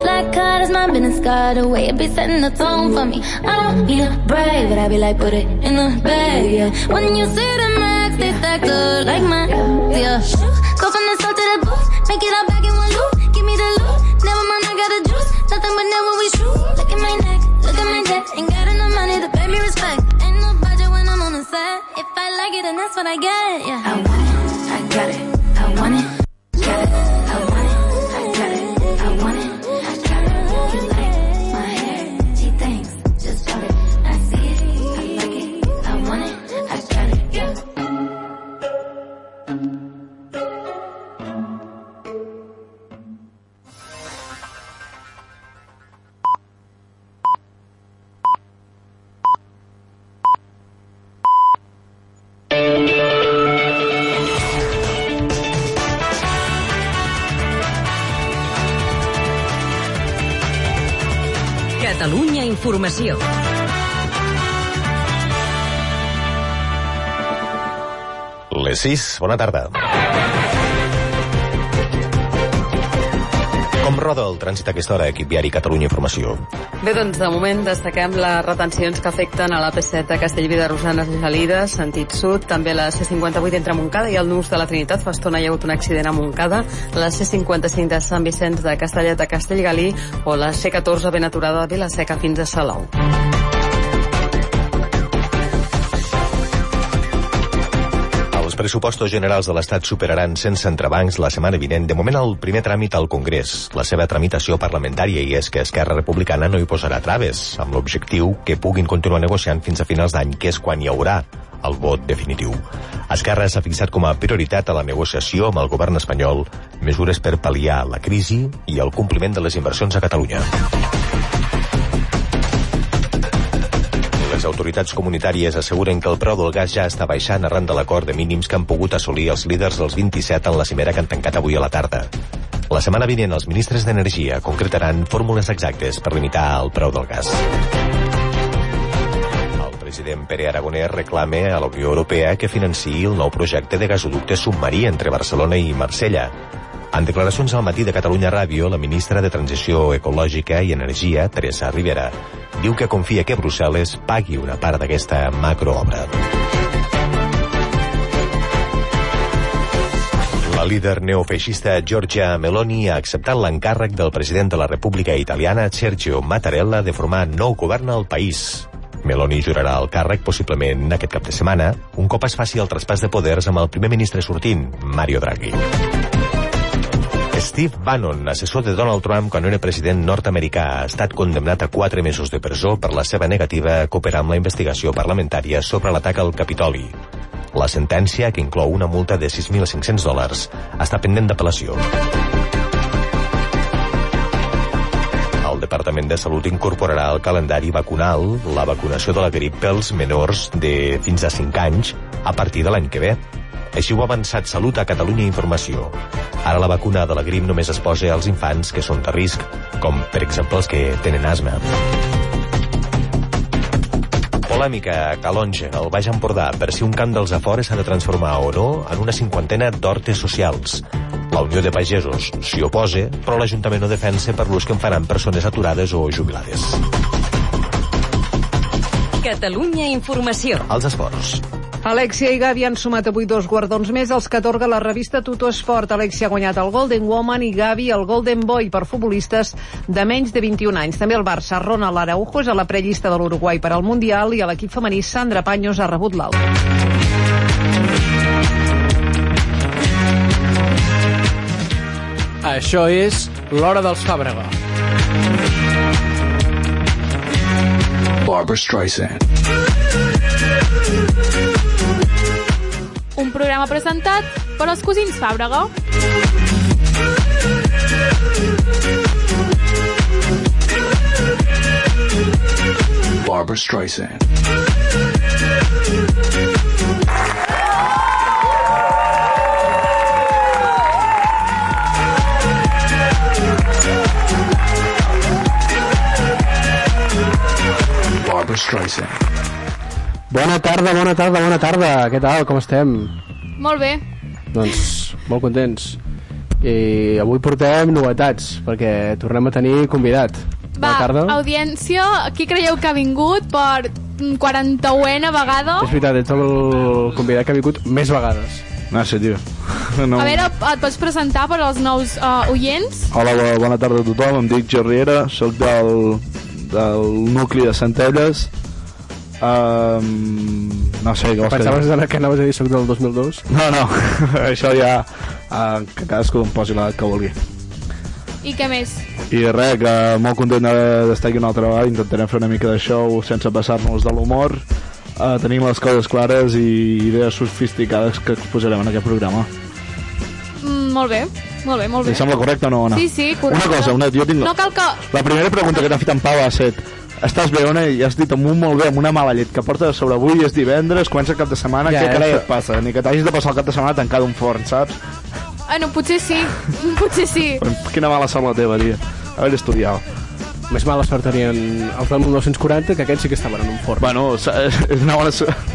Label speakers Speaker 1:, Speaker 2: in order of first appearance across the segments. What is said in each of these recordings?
Speaker 1: black card is my business card. The way it be setting the tone for me. I don't need a brave, but I be like, put it in the bag, yeah. When you see the max, they stack up like my, yeah. Go from the south to the booth, make it all back in one loop. Give me the loot, never mind, I got a juice. Nothing but never we true. Look at my neck, look at my debt. Ain't got enough money to pay me respect. Ain't no budget when I'm on the set. If I like it, then that's what I get, yeah. I want it, I got it, I want it, got it. I want it, I got it, I want it, I got it. You like my hair? She thinks, just got it. I see it, I like it, I want it, I got it, yeah.
Speaker 2: Catalunya Informació.
Speaker 3: Les 6, bona tarda. Com roda el trànsit a aquesta hora, equip viari Catalunya Informació?
Speaker 4: Bé, doncs de moment destaquem les retencions que afecten a la P7 a Castellví de Rosanes i Gelida, sentit sud, també la C58 entre Montcada i el Nus de la Trinitat. Fa estona hi ha hagut un accident a Montcada, la C55 de Sant Vicenç de Castellet a Castellgalí o la C14 ben aturada de Vilaseca fins a Salou.
Speaker 3: Els pressupostos generals de l'Estat superaran sense entrebancs la setmana vinent, de moment el primer tràmit al Congrés, la seva tramitació parlamentària, i és que Esquerra Republicana no hi posarà traves, amb l'objectiu que puguin continuar negociant fins a finals d'any, que és quan hi haurà el vot definitiu. Esquerra s'ha fixat com a prioritat a la negociació amb el govern espanyol mesures per pal·liar la crisi i el compliment de les inversions a Catalunya. Les autoritats comunitàries asseguren que el preu del gas ja està baixant arran de l'acord de mínims que han pogut assolir els líders dels 27 en la cimera que han tancat avui a la tarda. La setmana vinent, els ministres d'Energia concretaran fórmules exactes per limitar el preu del gas. El president Pere Aragonès reclama a la Unió Europea que financi el nou projecte de gasoducte submarí entre Barcelona i Marsella. En declaracions al matí de Catalunya Ràdio, la ministra de Transició Ecològica i Energia, Teresa Rivera, diu que confia que Brussel·les pagui una part d'aquesta macroobra. La líder neofeixista Giorgia Meloni ha acceptat l'encàrrec del president de la República Italiana Sergio Mattarella de formar nou govern al país. Meloni jurarà el càrrec possiblement aquest cap de setmana, un cop es faci el traspàs de poders amb el primer ministre sortint, Mario Draghi. Steve Bannon, assessor de Donald Trump quan era president nord-americà, ha estat condemnat a 4 mesos de presó per la seva negativa a cooperar amb la investigació parlamentària sobre l'atac al Capitoli. La sentència, que inclou una multa de 6.500 dòlars, està pendent d'apel·lació. El Departament de Salut incorporarà al calendari vacunal la vacunació de la grip pels menors de fins a 5 anys a partir de l'any que ve. Així ho ha avançat Salut a Catalunya Informació. Ara la vacuna de la grip només es posa als infants que són de risc, com per exemple els que tenen asma. Polèmica a Calonge, al Baix Empordà, per si un camp dels afores s'ha de transformar o no en una cinquantena d'hortes socials. La Unió de Pagesos s'hi oposa, però l'Ajuntament no defensa per l'ús que en faran persones aturades o jubilades.
Speaker 2: Catalunya Informació.
Speaker 3: Els esports.
Speaker 5: Alexia i Gavi han sumat avui dos guardons més, els que atorga la revista Tutor Esport. Alexia ha guanyat el Golden Woman i Gavi el Golden Boy per futbolistes de menys de 21 anys. També el Barça, Ronald Araujo, és a la prellista de l'Uruguai per al Mundial i a l'equip femení Sandra Panyos ha rebut l'alt.
Speaker 6: Això és l'Hora dels Fàbrega.
Speaker 7: Barbara Streisand.
Speaker 8: Un programa presentat per els cosins Fàbrega.
Speaker 7: Barbara Streisand. Barbara Streisand.
Speaker 9: Bona tarda, bona tarda, bona tarda. Què tal? Com estem?
Speaker 8: Molt bé.
Speaker 9: Doncs molt contents. i avui portem novetats, perquè tornem a tenir convidat.
Speaker 8: Va,
Speaker 9: Bona tarda.
Speaker 8: audiència, qui creieu que ha vingut per mm, 41a vegada?
Speaker 9: És veritat, ets el convidat que ha vingut més vegades.
Speaker 7: No sé, tio. No.
Speaker 8: A veure, et pots presentar per als nous uh, oients?
Speaker 7: Hola, bo- bona tarda a tothom. Em dic Jordi Riera, sóc del, del nucli de Centelles. Um, no sé què vols que
Speaker 9: Pensaves
Speaker 7: digui.
Speaker 9: que anaves a dir soc del 2002?
Speaker 7: No, no, això ja... Uh, que cadascú em posi l'edat que vulgui.
Speaker 8: I què més?
Speaker 7: I res, que molt content d'haver- d'estar aquí una altra vegada. Intentarem fer una mica de show sense passar-nos de l'humor. Uh, tenim les coses clares i idees sofisticades que exposarem en aquest programa.
Speaker 8: Mm, molt bé, molt bé, molt
Speaker 7: Li
Speaker 8: bé.
Speaker 7: sembla correcte o no, Ona?
Speaker 8: Sí, sí, correcte.
Speaker 7: Una cosa, una, jo tinc...
Speaker 8: No cal que...
Speaker 7: La primera pregunta que t'ha fet en Pau ha set Estàs bé, Ona? I has dit amb un molt bé, amb una mala llet que porta de sobre avui, és divendres, comença el cap de setmana,
Speaker 9: Ja,
Speaker 7: ja, què
Speaker 9: eh,
Speaker 7: carai
Speaker 9: però-
Speaker 7: et passa? Ni que t'hagis de passar el cap de setmana tancat un forn, saps?
Speaker 8: Bueno, Ah, potser sí, potser sí.
Speaker 7: Quina mala sort la teva, tia. Haver estudiat.
Speaker 9: Més mala sort tenien els del 1940, que aquests sí que estaven en un forn.
Speaker 7: Bueno, s- eh, és una bona sort.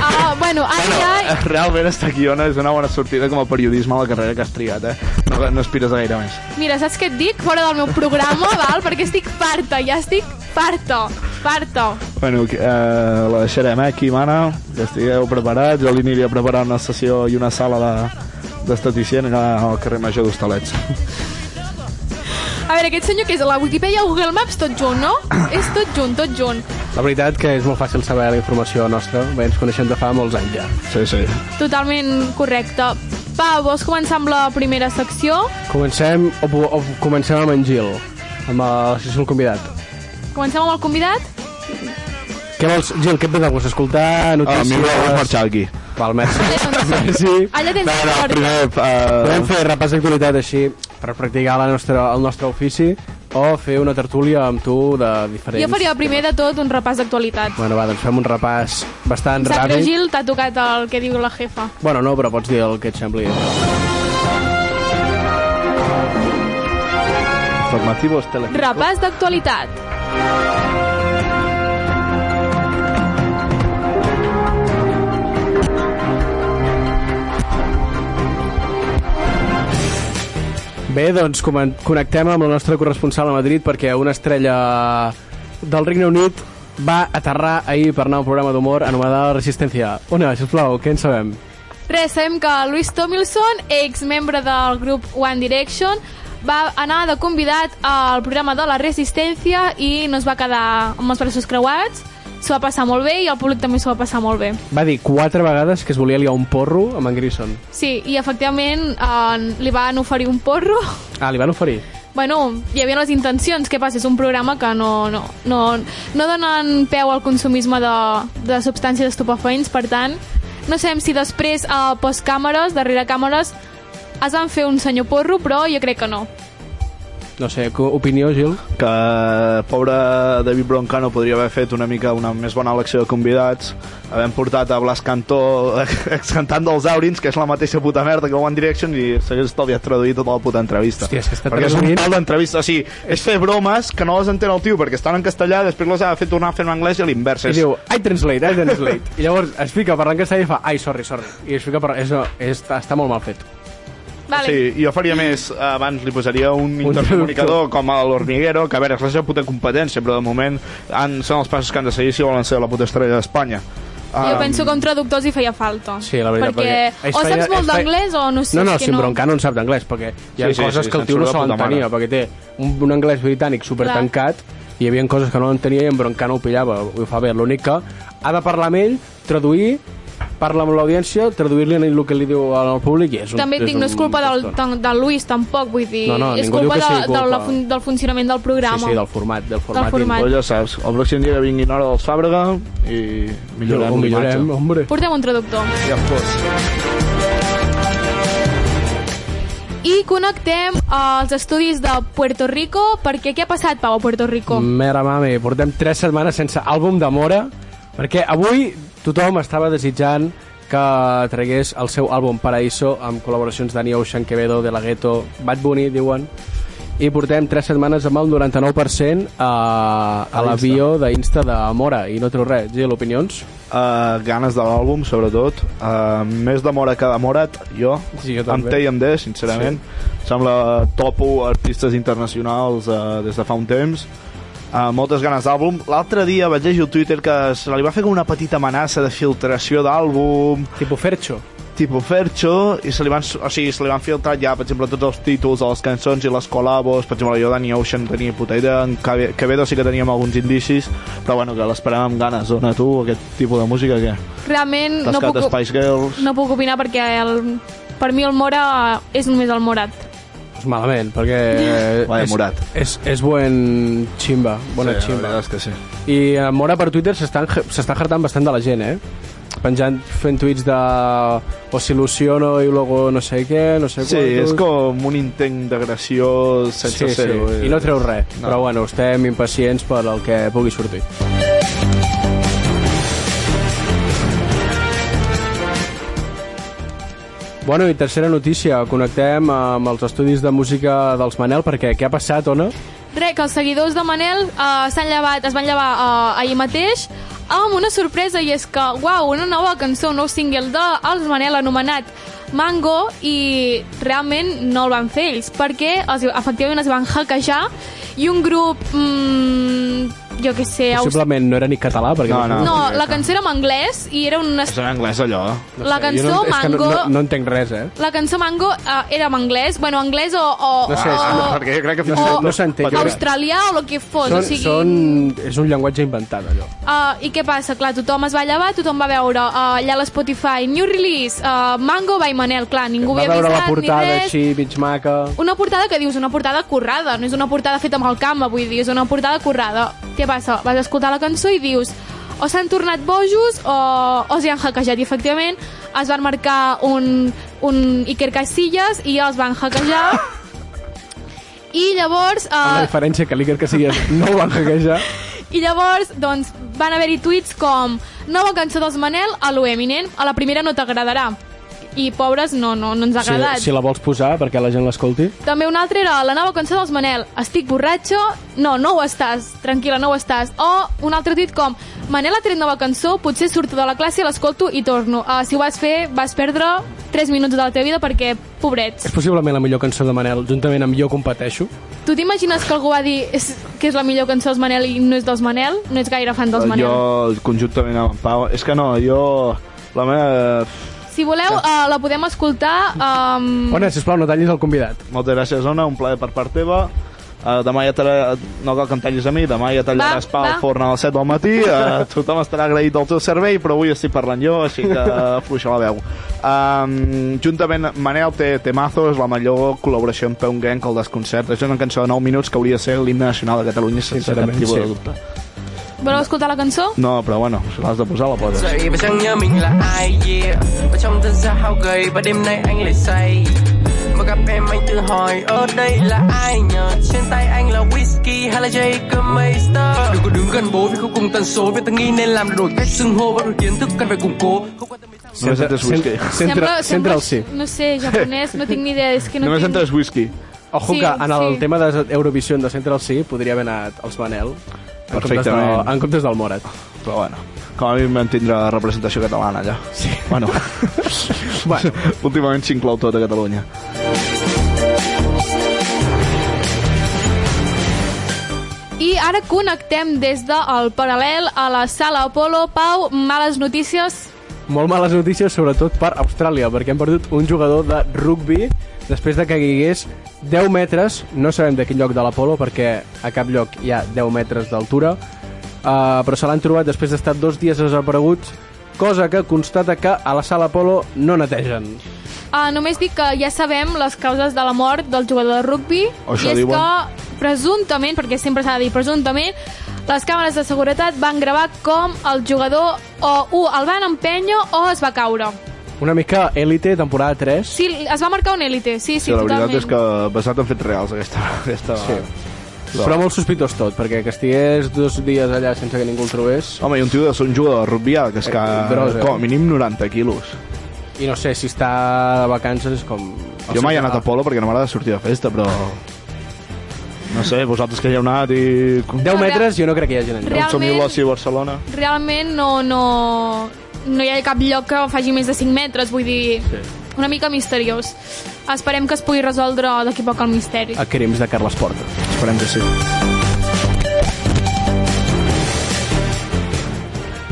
Speaker 8: Ah, bueno, ara ja...
Speaker 7: eh, Realment estar aquí, Ona, és una bona sortida com a periodisme a la carrera que has triat, eh? No, no aspires a gaire més.
Speaker 8: Mira, saps què et dic? Fora del meu programa, val? Perquè estic farta, ja estic farta, farta.
Speaker 7: Bueno, eh, la deixarem eh, aquí, mana, que estigueu preparats. Jo li aniria a preparar una sessió i una sala de- d'esteticient de, al carrer Major d'Hostalets.
Speaker 8: A veure, aquest senyor que és a la Wikipedia o Google Maps tot junt, no? És tot junt, tot junt.
Speaker 9: La veritat que és molt fàcil saber la informació nostra, bé, ens coneixem de fa molts anys ja.
Speaker 7: Sí, sí.
Speaker 8: Totalment correcte. Pau, vols començar amb la primera secció?
Speaker 9: Comencem, o, o comencem amb en Gil, amb el, si és el convidat.
Speaker 8: Comencem amb el convidat?
Speaker 9: Què vols, Gil, què et ve de gust? Escoltar
Speaker 7: Ah, a
Speaker 9: notícies...
Speaker 7: mi m'agrada marxar aquí.
Speaker 9: Val, merci.
Speaker 8: Allà tens,
Speaker 9: Sí.
Speaker 8: allà
Speaker 7: No,
Speaker 8: tens
Speaker 7: no,
Speaker 8: sort.
Speaker 7: primer...
Speaker 9: Podem
Speaker 7: Uh,
Speaker 9: fer repàs d'actualitat així per practicar la nostra, el nostre ofici o fer una tertúlia amb tu de diferents...
Speaker 8: Jo faria primer de tot un repàs d'actualitat.
Speaker 9: Bueno, va, doncs fem un repàs bastant
Speaker 8: Em sap greu,
Speaker 9: ràpid.
Speaker 8: Gil, t'ha tocat el que diu la jefa.
Speaker 9: Bueno, no, però pots dir el que et sembli.
Speaker 7: Formativos Telequip.
Speaker 8: Repàs d'actualitat.
Speaker 9: Bé, doncs comen- connectem amb la nostra corresponsal a Madrid perquè una estrella del Regne Unit va aterrar ahir per anar a un programa d'humor anomenada Resistència. Ona, sisplau, què en sabem?
Speaker 8: Res, sabem que Louis Tomilson, exmembre del grup One Direction, va anar de convidat al programa de la Resistència i no es va quedar amb els braços creuats. S'ho va passar molt bé i el públic també s'ho va passar molt bé.
Speaker 9: Va dir quatre vegades que es volia liar un porro amb en Grison.
Speaker 8: Sí, i efectivament eh, li van oferir un porro.
Speaker 9: Ah, li van oferir?
Speaker 8: Bueno, hi havia les intencions. Què passa? És un programa que no, no, no, no donen peu al consumisme de, de substàncies estupefaents, per tant, no sabem si després, a eh, postcàmeres, darrere càmeres, es van fer un senyor porro, però jo crec que no.
Speaker 9: No sé, co- opinió, Gil?
Speaker 7: que pobre David Broncano podria haver fet una mica una més bona elecció de convidats havent portat a Blas Cantó excantant dels Aurins, que és la mateixa puta merda que One Direction i s'hagués estalviat traduir tota la puta entrevista
Speaker 9: Hòstia, és que està
Speaker 7: perquè és un
Speaker 9: traduint.
Speaker 7: pal d'entrevista o sigui, és fer bromes que no les entén el tio perquè estan en castellà, després les ha fet tornar a fer en anglès i a l'invers
Speaker 9: I
Speaker 7: és...
Speaker 9: diu, I translate, I translate. I llavors es fica parlant castellà i fa, ai, sorry, sorry. I es fica parlant... És, és, està, està molt mal fet.
Speaker 8: Vale.
Speaker 7: Sí, jo faria més, eh, abans li posaria un intercomunicador com a l'Hormiguero, que a veure, és la seva puta competència, però de moment han, són els passos que han de seguir si volen ser la puta estrella d'Espanya.
Speaker 8: Jo
Speaker 7: Ah,
Speaker 8: penso que un traductor hi feia falta.
Speaker 9: um, Sí, la veritat,
Speaker 8: perquè...
Speaker 9: perquè
Speaker 8: O
Speaker 9: es feia-
Speaker 8: saps molt
Speaker 9: es feia-
Speaker 8: d'anglès o no sé.
Speaker 9: No, no,
Speaker 8: és que
Speaker 9: si en Broncano en sap d'anglès, perquè hi ha
Speaker 7: Sí, sí,
Speaker 9: coses
Speaker 7: sí,
Speaker 9: que el tio
Speaker 7: se'n
Speaker 9: no se
Speaker 7: surt de puta
Speaker 9: l'entenia, perquè té un, un anglès britànic supertancat i hi havia coses que no entenia i en Broncano ho pillava. Ho fa bé, l'únic que ha de parlar amb ell, traduir, parla amb l'audiència, traduir-li en el que li diu al públic i és un...
Speaker 8: També et dic,
Speaker 9: un
Speaker 8: no és culpa del,
Speaker 9: trastorn.
Speaker 8: del, del Luis, tampoc, vull dir...
Speaker 9: No, no,
Speaker 8: és
Speaker 9: ningú diu
Speaker 8: culpa,
Speaker 9: que sigui
Speaker 8: de, del-
Speaker 9: culpa.
Speaker 8: la fun- del funcionament del
Speaker 9: Sí,
Speaker 8: programa.
Speaker 9: sí, del format, del format.
Speaker 8: format.
Speaker 7: Però ja saps, el pròxim dia que vinguin hora dels Fàbrega i millorem
Speaker 9: Ho millorem,
Speaker 7: l'imatge.
Speaker 9: hombre.
Speaker 8: Portem un traductor.
Speaker 7: Ja fos.
Speaker 8: I connectem els estudis de Puerto Rico, perquè què ha passat, Pau, a Puerto Rico? Mm.
Speaker 9: Mera mami, portem tres setmanes sense àlbum de Mora, perquè avui tothom estava desitjant que tragués el seu àlbum Paraíso amb col·laboracions d'Annie Ocean, Quevedo, De La Ghetto, Bad Bunny, diuen, i portem 3 setmanes amb el 99% eh, a, a l'avió d'Insta de Mora i no treu res. Gil, opinions?
Speaker 7: Uh, ganes de l'àlbum, sobretot. Uh, més d'amora que demorat, jo.
Speaker 9: Sí, jo
Speaker 7: amb
Speaker 9: també.
Speaker 7: T i amb D, sincerament. Sí. Sembla topo artistes internacionals uh, des de fa un temps. Uh, moltes ganes d'àlbum. L'altre dia vaig llegir al Twitter que se li va fer com una petita amenaça de filtració d'àlbum,
Speaker 9: Tipo Fercho.
Speaker 7: tipo Fercho, i se li, van, o sigui, se li van filtrar ja, per exemple, tots els títols de les cançons i les col·labos, per exemple, jo Danny Ocean no tenia puta idea, en Cabe- Quevedo sí que teníem alguns indicis, però bueno, que l'esperàvem amb ganes, dona tu, aquest tipus de música, què?
Speaker 8: Realment
Speaker 7: T'has
Speaker 8: no
Speaker 7: quedat
Speaker 8: puc,
Speaker 7: Spice Girls...
Speaker 8: no puc opinar perquè el, per mi el Mora és només el Morat.
Speaker 9: Pues malament, perquè...
Speaker 7: Vaya
Speaker 9: és-
Speaker 7: morat.
Speaker 9: És, és buen ximba, bona
Speaker 7: sí, la
Speaker 9: ximba.
Speaker 7: veritat és que sí.
Speaker 9: I eh, Mora per Twitter s'estan s'estan hartant bastant de la gent, eh? Penjant, fent tuits de... O s'il·lusiono i luego no sé què, no sé
Speaker 7: Sí,
Speaker 9: quantos.
Speaker 7: és com un intent d'agressió sense
Speaker 9: sí,
Speaker 7: ser-ho.
Speaker 9: sí.
Speaker 7: eh?
Speaker 9: I no treu res.
Speaker 7: No.
Speaker 9: No. Però bueno, estem impacients per el que pugui sortir. Bueno, i tercera notícia. Connectem amb els estudis de música dels Manel, perquè què ha passat, Ona?
Speaker 8: Re, que els seguidors de Manel uh, s'han llevat, es van llevar uh, ahir mateix amb una sorpresa i és que, uau, una nova cançó, un nou single de Els Manel anomenat Mango i realment no el van fer ells perquè els, efectivament es van hackejar i un grup mm, jo que sé aus-
Speaker 9: Possiblement no era ni català, perquè...
Speaker 7: No, no.
Speaker 8: no, la cançó era en anglès i era un...
Speaker 7: És en anglès, allò.
Speaker 9: no
Speaker 8: la
Speaker 9: sé, jo
Speaker 8: cançó
Speaker 9: no, és que
Speaker 8: Mango
Speaker 9: No, no, no entenc res, eh?
Speaker 8: la cançó Mango uh, era en anglès bueno, anglès o, o,
Speaker 9: No sé,
Speaker 8: o,
Speaker 9: és-
Speaker 7: Perquè jo crec que fins
Speaker 8: o-
Speaker 7: i tot...
Speaker 9: no s'entén. Jo crec-
Speaker 8: australià o el que fos
Speaker 9: són,
Speaker 8: o sigui...
Speaker 9: són, és un llenguatge inventat, allò.
Speaker 8: Uh, I què passa? Clar, tothom es va llevar, tothom va veure uh, allà a l'Spotify, New Release, uh, Mango by Manel, clar, ningú
Speaker 9: Va
Speaker 8: havia
Speaker 9: veure
Speaker 8: avisat
Speaker 9: la portada
Speaker 8: ni res.
Speaker 9: així, mig maca...
Speaker 8: Una portada que dius, una portada currada, no és una portada feta amb el camp, vull dir, és una portada currada. Què passa? Vas escoltar la cançó i dius, o s'han tornat bojos o, o s'hi han hackejat. I efectivament es van marcar un, un Iker Casillas i els van hackejar. I llavors...
Speaker 9: Ah! Amb la
Speaker 8: Uh,
Speaker 9: diferència que l'Iker que sigues no ho van hackejar.
Speaker 8: I llavors, doncs, van haver-hi tuits com Nova cançó dels Manel a lo Eminem, a la primera no t'agradarà. I pobres, no, no, no ens ha
Speaker 9: Si,
Speaker 8: agradat.
Speaker 9: si la vols posar perquè la gent l'escolti.
Speaker 8: També una altra era la nova cançó dels Manel, Estic borratxo, no, no ho estàs, tranquil·la, no ho estàs. O un altre tuit com Manel ha tret nova cançó, potser surto de la classe, l'escolto i torno. Uh, si ho vas fer, vas perdre 3 minuts de la teva vida perquè, pobrets.
Speaker 9: És possiblement la millor cançó de Manel, juntament amb Jo competeixo.
Speaker 8: Tu t'imagines que algú va dir és, que és la millor cançó dels Manel i no és dels Manel? No ets gaire fan dels
Speaker 7: Eh,
Speaker 8: Manel.
Speaker 7: Jo, conjuntament amb en Pau... És que no, jo... La meva...
Speaker 8: Si voleu, uh, la podem escoltar... Um...
Speaker 9: Mm. Ona, sisplau, no tallis el convidat.
Speaker 7: Moltes gràcies, Ona, un plaer per part teva. Uh, demà ja tallar... No cal que em tallis a mi, demà ja tallaràs
Speaker 8: Va,
Speaker 7: pa al
Speaker 8: va.
Speaker 7: forn a les 7 del matí. Uh, tothom estarà agraït del teu servei, però avui estic parlant jo, així que eh, afluixa la veu. Um, juntament, Manel té Temazo, és la millor col·laboració amb Peu Gang al desconcert. Això és una cançó de 9 minuts que hauria de ser l'himne nacional de Catalunya sense cap
Speaker 9: Sincerament,
Speaker 7: tipus de
Speaker 9: sí.
Speaker 7: dubte.
Speaker 8: Voleu escoltar la cançó?
Speaker 7: No, però bueno, si l'has de posar, la poses.
Speaker 2: dậy và chẳng nhớ mình là ai yeah. Và trong thân ra hao gầy và đêm nay anh lại say Mà gặp em anh tự hỏi ở đây là ai nhờ Trên tay anh là whisky hay là Jacob Meister Đừng có đứng gần bố vì không cùng tần số Vì ta nghi nên làm đổi cách xưng hô Và đổi kiến thức cần phải củng cố Không quan tâm đến
Speaker 7: Només entres whisky.
Speaker 9: centra, centra el sí.
Speaker 8: No sé, japonès, no tinc ni idea, és que no
Speaker 7: Només
Speaker 8: tinc...
Speaker 7: entres whisky.
Speaker 9: Ojo
Speaker 8: Sí,
Speaker 9: que en el
Speaker 8: sí.
Speaker 9: tema de Eurovision de Centra el sí podria haver anat els Manel en comptes, de,
Speaker 7: Perfectament.
Speaker 9: en comptes del Morat.
Speaker 7: Però bueno, com a mínim vam tindre representació catalana allà. Sí. Bueno, bueno. últimament s'inclou tot a Catalunya.
Speaker 8: I ara connectem des del paral·lel a la sala Apolo. Pau, males notícies.
Speaker 9: Molt males notícies, sobretot per Austràlia, perquè hem perdut un jugador de rugbi després de que caigués 10 metres, no sabem de quin lloc de l'Apolo, perquè a cap lloc hi ha 10 metres d'altura, uh, però se l'han trobat després d'estar dos dies desapareguts, cosa que constata que a la sala Apolo no netegen.
Speaker 8: Uh, només dic que ja sabem les causes de la mort del jugador de rugbi.
Speaker 7: O això
Speaker 8: I és
Speaker 7: diuen.
Speaker 8: que, presumptament, perquè sempre s'ha de dir presumptament, les càmeres de seguretat van gravar com el jugador o u el van empènyer o es va caure.
Speaker 9: Una mica élite, temporada 3.
Speaker 8: Sí, es va marcar un élite, sí, sí,
Speaker 7: Sí, la
Speaker 8: totalment.
Speaker 7: veritat és que basat en fets reals aquesta, aquesta sí.
Speaker 9: No. Però molt sospitós tot, perquè que estigués dos dies allà sense que ningú el trobés
Speaker 7: Home, i un tio de ser un jugador de rugby que és que
Speaker 9: Eh, gros, eh?
Speaker 7: com a mínim 90 quilos.
Speaker 9: i no sé si està de vacances com...
Speaker 7: ah. Jo mai he anat a polo perquè no m'agrada sortir de festa, però... No sé, vosaltres que hi heu anat i...
Speaker 9: 10 metres jo no crec que hi hagi enlloc.
Speaker 7: enlloc. Realment... Som
Speaker 8: Realment-
Speaker 7: l'oci a Barcelona.
Speaker 8: Realment no, no, no hi ha cap lloc que faci més de 5 metres, vull dir, sí. una mica misteriós. Esperem que es pugui resoldre d'aquí a poc el misteri.
Speaker 9: A crims de Carles Porta.
Speaker 7: Esperem que sí.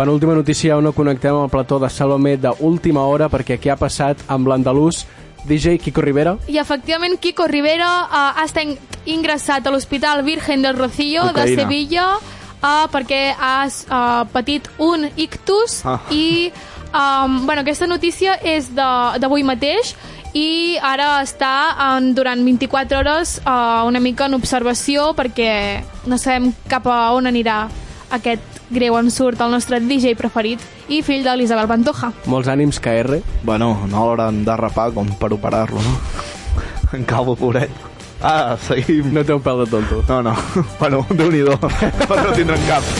Speaker 9: Penúltima notícia on no connectem amb el plató de Salomé d'última hora perquè aquí ha passat amb l'andalús DJ Kiko Rivera
Speaker 8: I efectivament Kiko Rivera eh, ha estat in- ingressat a l'Hospital Virgen del Rocío de
Speaker 9: Cocaïna.
Speaker 8: Sevilla eh, perquè ha eh, patit un ictus
Speaker 10: Ah.
Speaker 8: ah. i um, bueno, aquesta notícia és de- d'avui mateix i ara està en, durant 24 hores eh, una mica en observació perquè no sabem cap a on anirà aquest greu ensurt al nostre DJ preferit i fill de l'Isabel Pantoja.
Speaker 9: Molts ànims que R.
Speaker 7: Bueno, no l'hauran d'arrapar com per operar-lo, no? En calvo, pobret. Ah, seguim.
Speaker 9: No té un pèl de tonto.
Speaker 7: No, no. Bueno, déu-n'hi-do. Però no tindran cap.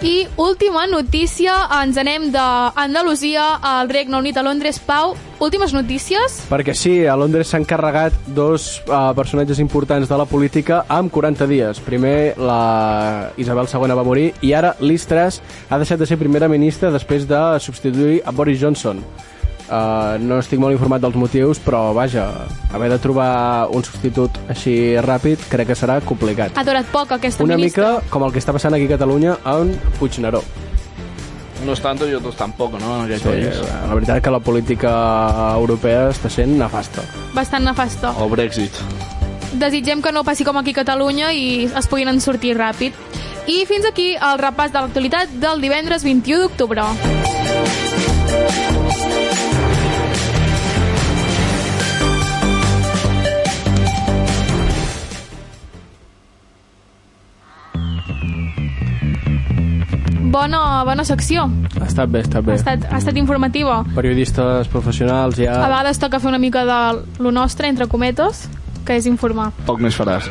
Speaker 8: I última notícia, ens anem d'Andalusia al Regne Unit a Londres. Pau, últimes notícies?
Speaker 9: perquè sí, a Londres s'han carregat dos uh, personatges importants de la política amb 40 dies. Primer, la Isabel II va morir i ara Liz Truss ha deixat de ser primera ministra després de substituir a Boris Johnson. Uh, no estic molt informat dels motius, però vaja, haver de trobar un substitut així ràpid crec que serà complicat.
Speaker 8: Ha durat poc aquesta
Speaker 9: Una
Speaker 8: ministra.
Speaker 9: mica com el que està passant aquí a Catalunya amb Puigneró.
Speaker 7: No és tanto, jo tos tampoc, no? En
Speaker 9: Sí, Eh, la veritat és que la política europea està sent nefasta.
Speaker 8: Bastant nefasta.
Speaker 7: O Brexit.
Speaker 8: Desitgem que no passi com aquí a Catalunya i es puguin en sortir ràpid. I fins aquí el repàs de l'actualitat del divendres 21 d'octubre. Bona, bona secció.
Speaker 9: Ha estat bé, ha estat
Speaker 8: Ha
Speaker 9: bé.
Speaker 8: estat, ha estat informativa.
Speaker 9: periodistes professionals
Speaker 8: A
Speaker 9: ja...
Speaker 8: vegades toca fer una mica de lo nostre, entre cometes, que és informar.
Speaker 7: Poc més faràs.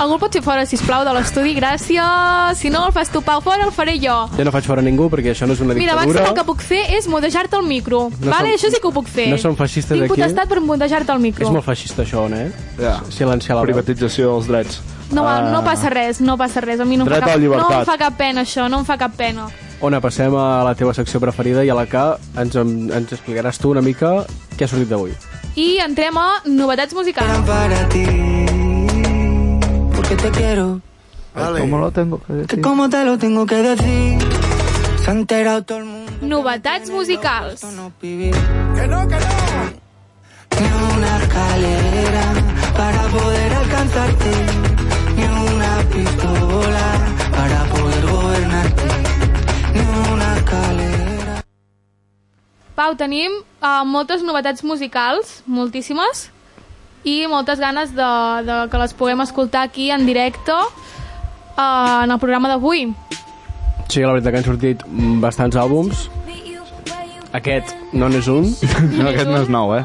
Speaker 8: Algú el pot fer fora, si plau de l'estudi? Gràcies. Si no, el fas tu, Pau, fora el faré jo.
Speaker 9: Jo no faig fora ningú perquè això no és una
Speaker 8: Mira, abans
Speaker 9: dictadura.
Speaker 8: el que puc fer és mudejar-te el micro.
Speaker 9: No
Speaker 8: No vale,
Speaker 9: som-
Speaker 8: això sí que ho puc fer.
Speaker 9: no som feixistes
Speaker 8: Tinc
Speaker 9: aquí.
Speaker 8: potestat per mudejar-te el micro.
Speaker 9: És molt feixista això, on, eh?
Speaker 7: Ja.
Speaker 9: Silenciar la
Speaker 7: Privatització dels drets.
Speaker 8: No, val, no passa res, no passa res. A mi no, em
Speaker 9: Ah. Dret
Speaker 8: fa
Speaker 9: a
Speaker 8: cap,
Speaker 9: la
Speaker 8: no
Speaker 9: llibertat.
Speaker 8: em fa cap pena això, no em fa cap pena.
Speaker 9: Ona, passem a la teva secció preferida i a la que ens, em- ens explicaràs tu una mica què ha sortit d'avui.
Speaker 8: I entrem a novetats musicals.
Speaker 11: porque te quiero.
Speaker 7: ¿Cómo lo tengo que
Speaker 11: Que como te lo tengo que decir. Se ha enterado todo el mundo.
Speaker 8: Novetats musicals.
Speaker 11: Que no, que no. Ni una escalera para poder alcanzarte. Ni una pistola para poder gobernarte. Ni una escalera.
Speaker 8: Pau, tenim uh, moltes novetats musicals, moltíssimes, i moltes ganes de, de que les puguem escoltar aquí en directe uh, en el programa d'avui.
Speaker 9: Sí, la veritat que han sortit mm, bastants àlbums. Aquest no n'és un.
Speaker 7: No, aquest no és nou, eh?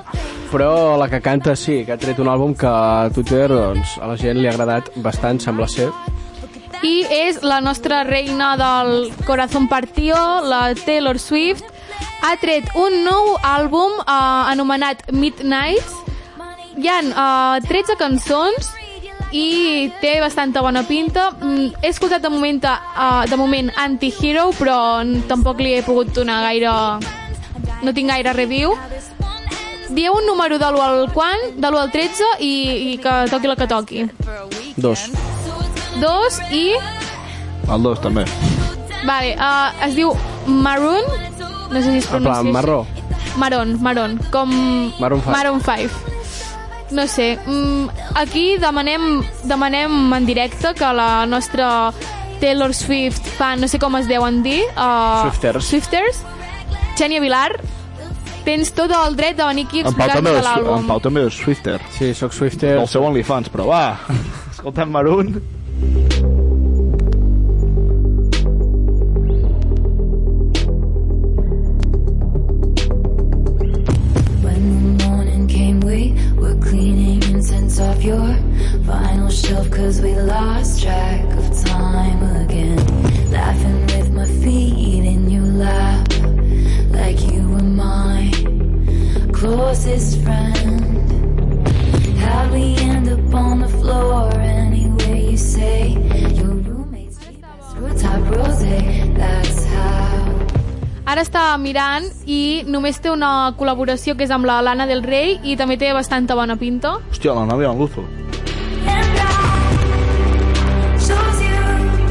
Speaker 9: Però la que canta sí, que ha tret un àlbum que a Twitter doncs, a la gent li ha agradat bastant, sembla ser.
Speaker 8: I és la nostra reina del Corazón Partido, la Taylor Swift, ha tret un nou àlbum eh, anomenat Midnights. Hi ha eh, 13 cançons i té bastanta bona pinta. Mm, He escoltat de moment, eh, de moment Anti-Hero, però n- tampoc li he pogut donar gaire... No tinc gaire review. Dieu un número de l'1 al quan, de l'1 al 13, i, i que toqui la que toqui.
Speaker 9: Dos.
Speaker 8: Dos i...
Speaker 7: El dos, també.
Speaker 8: Vale, uh, es diu Maroon, no sé si es
Speaker 9: En
Speaker 8: pronuncia
Speaker 9: plan,
Speaker 8: així.
Speaker 9: marró.
Speaker 8: Maroon, Maroon, com...
Speaker 9: Maroon five.
Speaker 8: Maroon 5. No sé, mm, aquí demanem, demanem en directe que la nostra Taylor Swift fan, no sé com es deuen dir... Uh,
Speaker 9: Swifters.
Speaker 8: Swifters. Xènia Vilar, tens tot el dret de venir aquí a
Speaker 7: En Pau, també
Speaker 8: explicar-nos de
Speaker 7: és, en
Speaker 8: l'àlbum.
Speaker 7: Pau també és Swifter.
Speaker 9: Sí, sóc Swifter.
Speaker 7: El seu OnlyFans, però va. Escoltem Maroon.
Speaker 1: When the morning came, we were cleaning incense off your vinyl shelf, cause we lost track of time again. Laughing with my feet in your lap, like you were mine. Close closest friend. How'd we end up on the floor anyway? You say your roommates keep us rooftop rose. That's how.
Speaker 8: Ara està mirant i només té una col·laboració que és amb la Lana del Rei i també té bastanta bona pinta.
Speaker 7: Hòstia, la Nadia Luzo.
Speaker 1: Shows you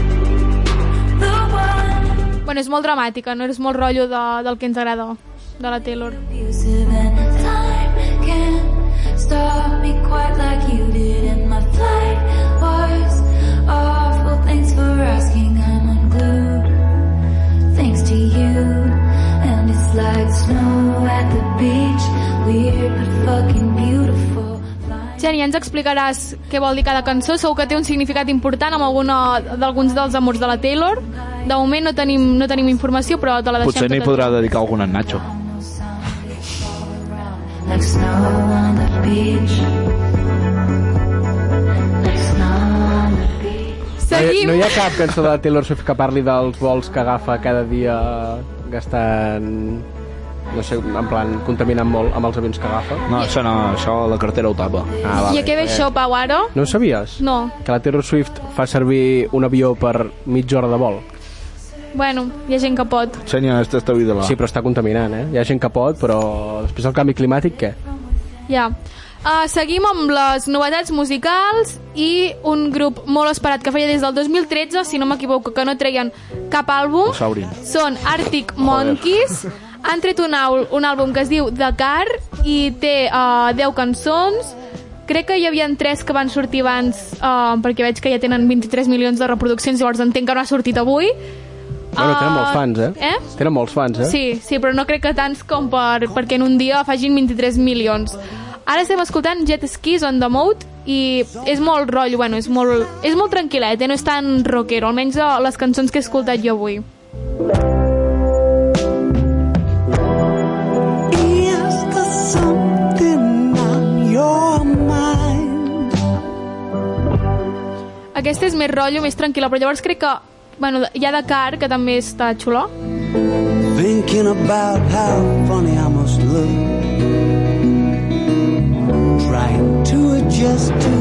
Speaker 1: the one
Speaker 8: Bueno, és molt dramàtica, no és molt rotllo de, del que ens agrada, de la Taylor.
Speaker 1: abusive and time can't stop me quite like you did. And my flight was awful. Thanks for asking. I'm unglued. Thanks to you. And it's like snow at the beach. Weird but fucking beautiful.
Speaker 8: Xeni, ja ens explicaràs què vol dir cada cançó. Segur que té un significat important amb alguna d'alguns dels amors de la Taylor. De moment no tenim, no tenim informació, però te la deixem
Speaker 7: Potser n'hi
Speaker 8: tota-
Speaker 7: podrà dedicar algun a en Nacho.
Speaker 1: Like snow on the beach. Like snow on the beach.
Speaker 8: Seguim.
Speaker 9: No hi ha cap cançó de la Taylor Swift que parli dels vols que agafa cada dia gastant no sé, en plan, contaminant molt amb els avions que agafa.
Speaker 7: No, això no, això la cartera ho tapa.
Speaker 9: Ah,
Speaker 8: I a què ve això, Pau, ara?
Speaker 9: No ho sabies?
Speaker 8: No.
Speaker 9: Que la Taylor Swift fa servir un avió per mitja hora de vol.
Speaker 8: Bueno, hi ha gent que pot.
Speaker 7: Senya, esta està vida
Speaker 9: Sí, però està contaminant, eh? Hi ha gent que pot, però després del canvi climàtic, què?
Speaker 8: Ja. Uh, seguim amb les novetats musicals i un grup molt esperat que feia des del 2013, si no m'equivoco, que no treien cap àlbum.
Speaker 7: Saurin.
Speaker 8: Són Arctic Monkeys. Han tret un, àl un àlbum que es diu The Car i té uh, 10 cançons. Crec que hi havia tres que van sortir abans, uh, perquè veig que ja tenen 23 milions de reproduccions, llavors entenc que no ha sortit avui.
Speaker 9: Bueno, tenen
Speaker 8: Ah,
Speaker 9: molts fans, eh?
Speaker 8: eh?
Speaker 9: Tenen molts fans, eh?
Speaker 8: Sí, sí, però no crec que tants com per, perquè en un dia facin 23 milions. Ara estem escoltant Jet Skis on the Mode i és molt rotllo, bueno, és molt, és molt tranquil·let, eh? no és tan rockero, almenys de les cançons que he escoltat jo avui.
Speaker 11: Is there something on your mind?
Speaker 8: Aquesta és més rotllo, més tranquil·la, però llavors crec que bueno, hi ha de car, que també està xula.
Speaker 11: Thinking about how funny I must look. Trying to adjust to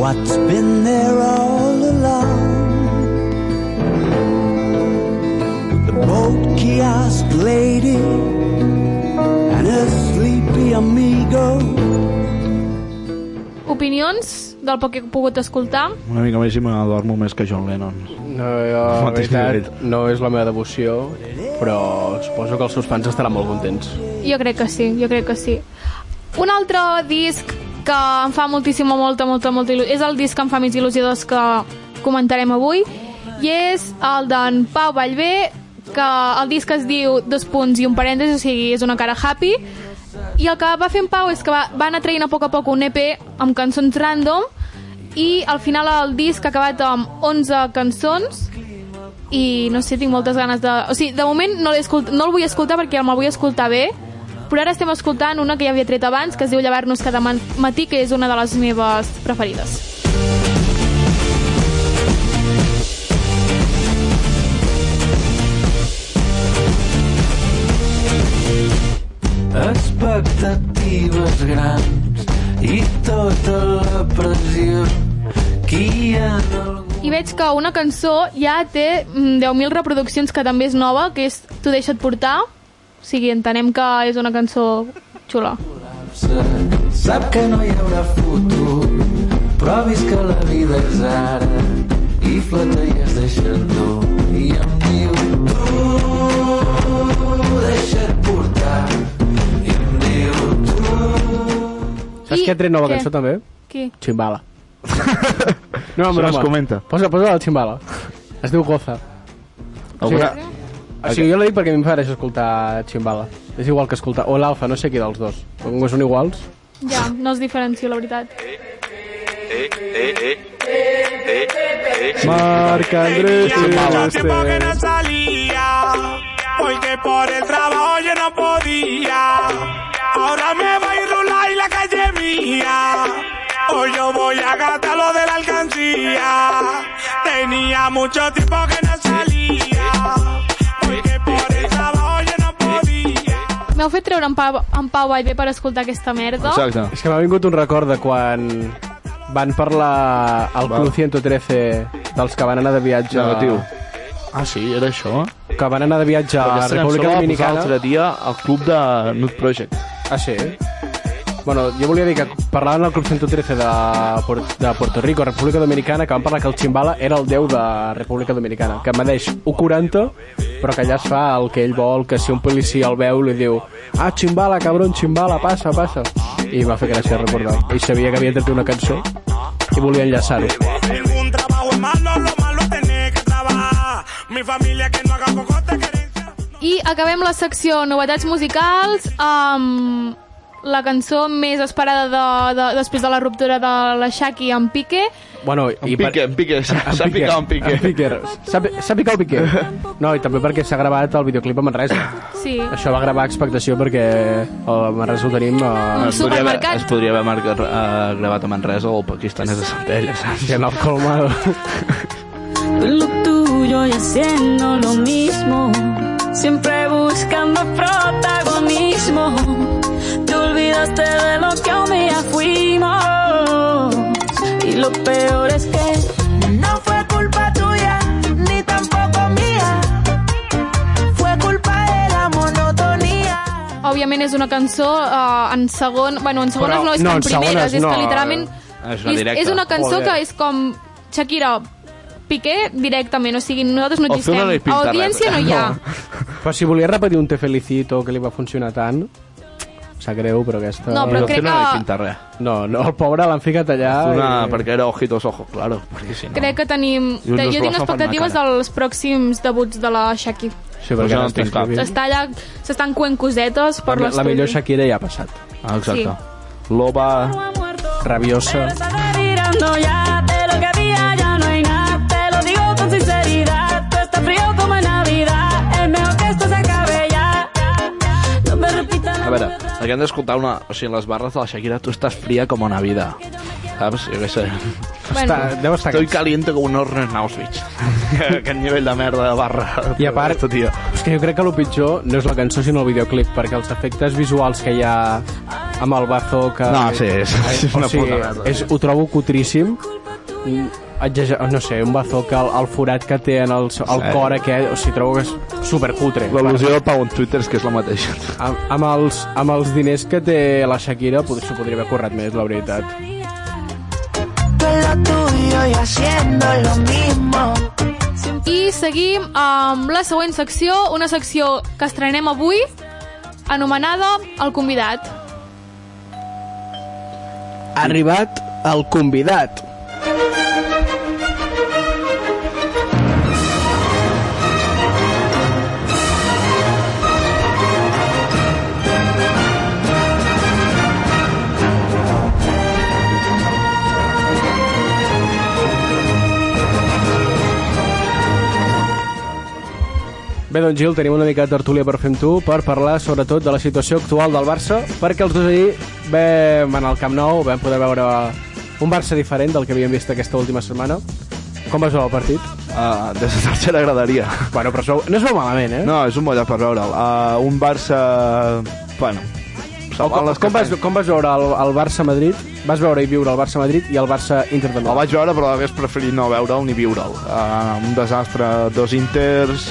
Speaker 11: what's been there all along. The boat kiosk lady and her sleepy amigo.
Speaker 8: Opinions del poc que he pogut escoltar.
Speaker 7: Una mica més i m'adormo més que John Lennon.
Speaker 9: No, jo, la
Speaker 7: Mateix
Speaker 9: veritat, no és la meva devoció, però suposo que els seus fans estaran molt contents.
Speaker 8: Jo crec que sí, jo crec que sí. Un altre disc que em fa moltíssima, molta, molta, molta il·lusió, és el disc que em fa més il·lusió dels que comentarem avui, i és el d'en Pau Vallvé, que el disc es diu dos punts i un parèntesi, o sigui, és una cara happy, i el que va fer en Pau és que va, va anar traient a poc a poc un EP amb cançons random, i al final el disc ha acabat amb 11 cançons, i no sé, tinc moltes ganes de... O sigui, de moment no, l'he escolt... no el vull escoltar perquè me'l vull escoltar bé, però ara estem escoltant una que ja havia tret abans, que es diu Llevar-nos cada man- matí, que és una de les meves preferides.
Speaker 11: expectatives grans i tota la pressió qui en el...
Speaker 8: I veig que una cançó ja té mm, 10.000 reproduccions, que també és nova, que és Tu deixa't portar, o sigui, entenem que és una cançó xula.
Speaker 11: sap que no hi haurà futur però ha vist que la vida és ara i flota i es deixa endur i em diu tu deixa't portar i em diu tu
Speaker 9: Saps
Speaker 8: I
Speaker 9: qui ha tret nova
Speaker 8: què?
Speaker 9: cançó, també?
Speaker 8: Qui?
Speaker 9: Chimbala. no,
Speaker 7: Això no es comenta.
Speaker 9: Posa, posa la Chimbala. Es diu Goza.
Speaker 7: Alguna-
Speaker 9: O sigui, jo la dic perquè a mi em fa gràcia escoltar Chimbala. És igual que escoltar... O l'Alfa, no sé qui dels dos. Com que són iguals.
Speaker 8: Ja, no es diferencio, la veritat.
Speaker 7: Marc Andrés
Speaker 10: que no salía, porque por el trabajo yo no podía. Ahora me va a ir rular y la calle mía. Hoy yo voy a gastar lo de la alcancía. Tenía mucho tiempo que no salía, porque por el trabajo yo no podía.
Speaker 8: M'heu fet treure en Pau, en Pau Vallvé per escoltar aquesta merda.
Speaker 9: És que m'ha vingut un record de quan van parlar al Club 113 dels que van anar de viatge...
Speaker 7: Negatiu.
Speaker 9: Ah, sí? Era això? Que van anar de viatge a República
Speaker 7: Aquesta cançó la va posar
Speaker 9: Dominicana.
Speaker 7: l'altre dia al club de Nude Project.
Speaker 9: Ah, sí? Bueno, jo volia dir que parlaven al Club 113 de, Puer- de Puerto Rico, República Dominicana, que van parlar que el Chimbala era el déu de República Dominicana, que medeix 1,40, però que allà es fa el que ell vol, que si un policia el veu li diu «Ah, Chimbala, cabron, Chimbala, passa, passa!» I va fer gràcia recordar. I sabia que havia tret una cançó i volia enllaçar-ho.
Speaker 10: Ningún trabajo es malo, lo malo es tener que trabajar. Mi familia que no haga cocote, que
Speaker 8: I acabem la secció novetats musicals amb la cançó més esperada de, de, després de la ruptura de la Shaki amb Piqué.
Speaker 9: Bueno, i per...
Speaker 7: Piqué, en Piqué, s'ha s'ha picat en Piqué.
Speaker 9: En Piqué. S'ha pi- s'ha picat el Piqué. No, i també perquè s'ha gravat el videoclip a Manresa.
Speaker 8: Sí.
Speaker 9: Això va gravar expectació perquè el Manresa ho tenim... A...
Speaker 7: Es podria, haver, es podria haver marcat, uh, gravat a Manresa o al Pakistanès de Centelles, saps?
Speaker 9: Sí, en el colmado.
Speaker 12: lo tuyo y haciendo lo mismo. Siempre buscando protagonismo. Te olvidaste de lo que un día fuimos. Y lo peor es que no fue culpa tuya, ni tampoco mía.
Speaker 13: Fue culpa de la monotonía.
Speaker 8: Òbviament és una cançó eh, en segon... Bueno, en segones
Speaker 9: Però-
Speaker 8: no, és
Speaker 9: no,
Speaker 8: que
Speaker 9: en
Speaker 8: en primeres,
Speaker 9: segones
Speaker 8: és
Speaker 9: no,
Speaker 8: que literalment...
Speaker 9: eh, és una directa.
Speaker 8: és una cançó
Speaker 9: Joder.
Speaker 8: que és com Shakira, Piqué directament, o sigui, nosaltres no
Speaker 9: O fer
Speaker 8: existem.
Speaker 9: una de pintar
Speaker 8: Audiència no
Speaker 9: res.
Speaker 8: hi ha.
Speaker 9: Però si volia repetir un Te Felicito que li va funcionar tant, em sap greu, però aquesta...
Speaker 8: No, però No, crec que no que- li pinta
Speaker 9: No, no, el pobre l'han ficat allà...
Speaker 7: Una, perquè era ojitos ojos, claro. Perquè si no...
Speaker 8: Crec que tenim...
Speaker 7: I unes
Speaker 8: jo tinc
Speaker 7: bromes
Speaker 8: expectatives
Speaker 7: fan
Speaker 8: dels pròxims debuts de la Shaki.
Speaker 9: Sí, perquè
Speaker 7: Jo no
Speaker 9: no
Speaker 7: en tinc cap.
Speaker 8: S'està allà... S'estan coent cosetes per
Speaker 9: La, la
Speaker 8: l'estudi.
Speaker 9: millor Shakira ja ha passat.
Speaker 7: Ah,
Speaker 8: exacte.
Speaker 7: Loba,
Speaker 9: rabiosa...
Speaker 12: Mirando ya de lo que había, ya no hay nada. Te lo digo con sinceridad. Tú estás frío como en Navidad. Es mejor que esto se acabe ya. No me repitas.
Speaker 7: A veure, aquí hem d'escoltar una... O sigui, les barres de la Shakira, tu estàs fría como Navidad. Saps? Jo què sé.
Speaker 8: Bueno.
Speaker 9: Està- deu estar
Speaker 7: Estoy caliente como un horno en Auschwitz. Aquest nivell de merda de barra.
Speaker 9: I a part, és que jo crec que el pitjor no és la cançó, sinó el videoclip, perquè els efectes visuals que hi ha amb el bazo que... Eh,
Speaker 7: No, sí, és- és una
Speaker 9: o sigui,
Speaker 7: puta merda.
Speaker 9: És, ho trobo cutríssim. Mm, exager- No sé, un bazo que el, el forat que té en el, el
Speaker 7: Sí.
Speaker 9: cor aquest, o sigui, trobo que és supercutre.
Speaker 7: L'al·lusió de Pau en Twitter és que és la mateixa.
Speaker 9: Amb, amb, els, amb els diners que té la Shakira pot- s'ho podria haver currat més, la veritat.
Speaker 13: Tú en lo tuyo y haciendo lo mismo.
Speaker 8: I seguim amb la següent secció, una secció que estrenem avui, anomenada El convidat.
Speaker 14: Ha arribat el convidat.
Speaker 9: Bé, doncs, Gil, tenim una mica de tertúlia per fer amb tu per parlar, sobretot, de la situació actual del Barça, perquè els dos ahir vam anar al Camp Nou, vam poder veure un Barça diferent del que havíem vist aquesta última setmana. Com vas veure el partit?
Speaker 7: Uh, des de tercera graderia.
Speaker 9: Bueno, però sou, no es veu malament, eh?
Speaker 7: No, és un mollat per veure'l. Uh, un Barça... Bueno,
Speaker 9: Com, com, com, vas, com vas veure el, el Barça-Madrid? Vas veure i viure el Barça-Madrid i el Barça-Inter de
Speaker 7: El vaig veure, però hagués preferit no veure'l ni viure'l. Uh, un desastre, dos Inters,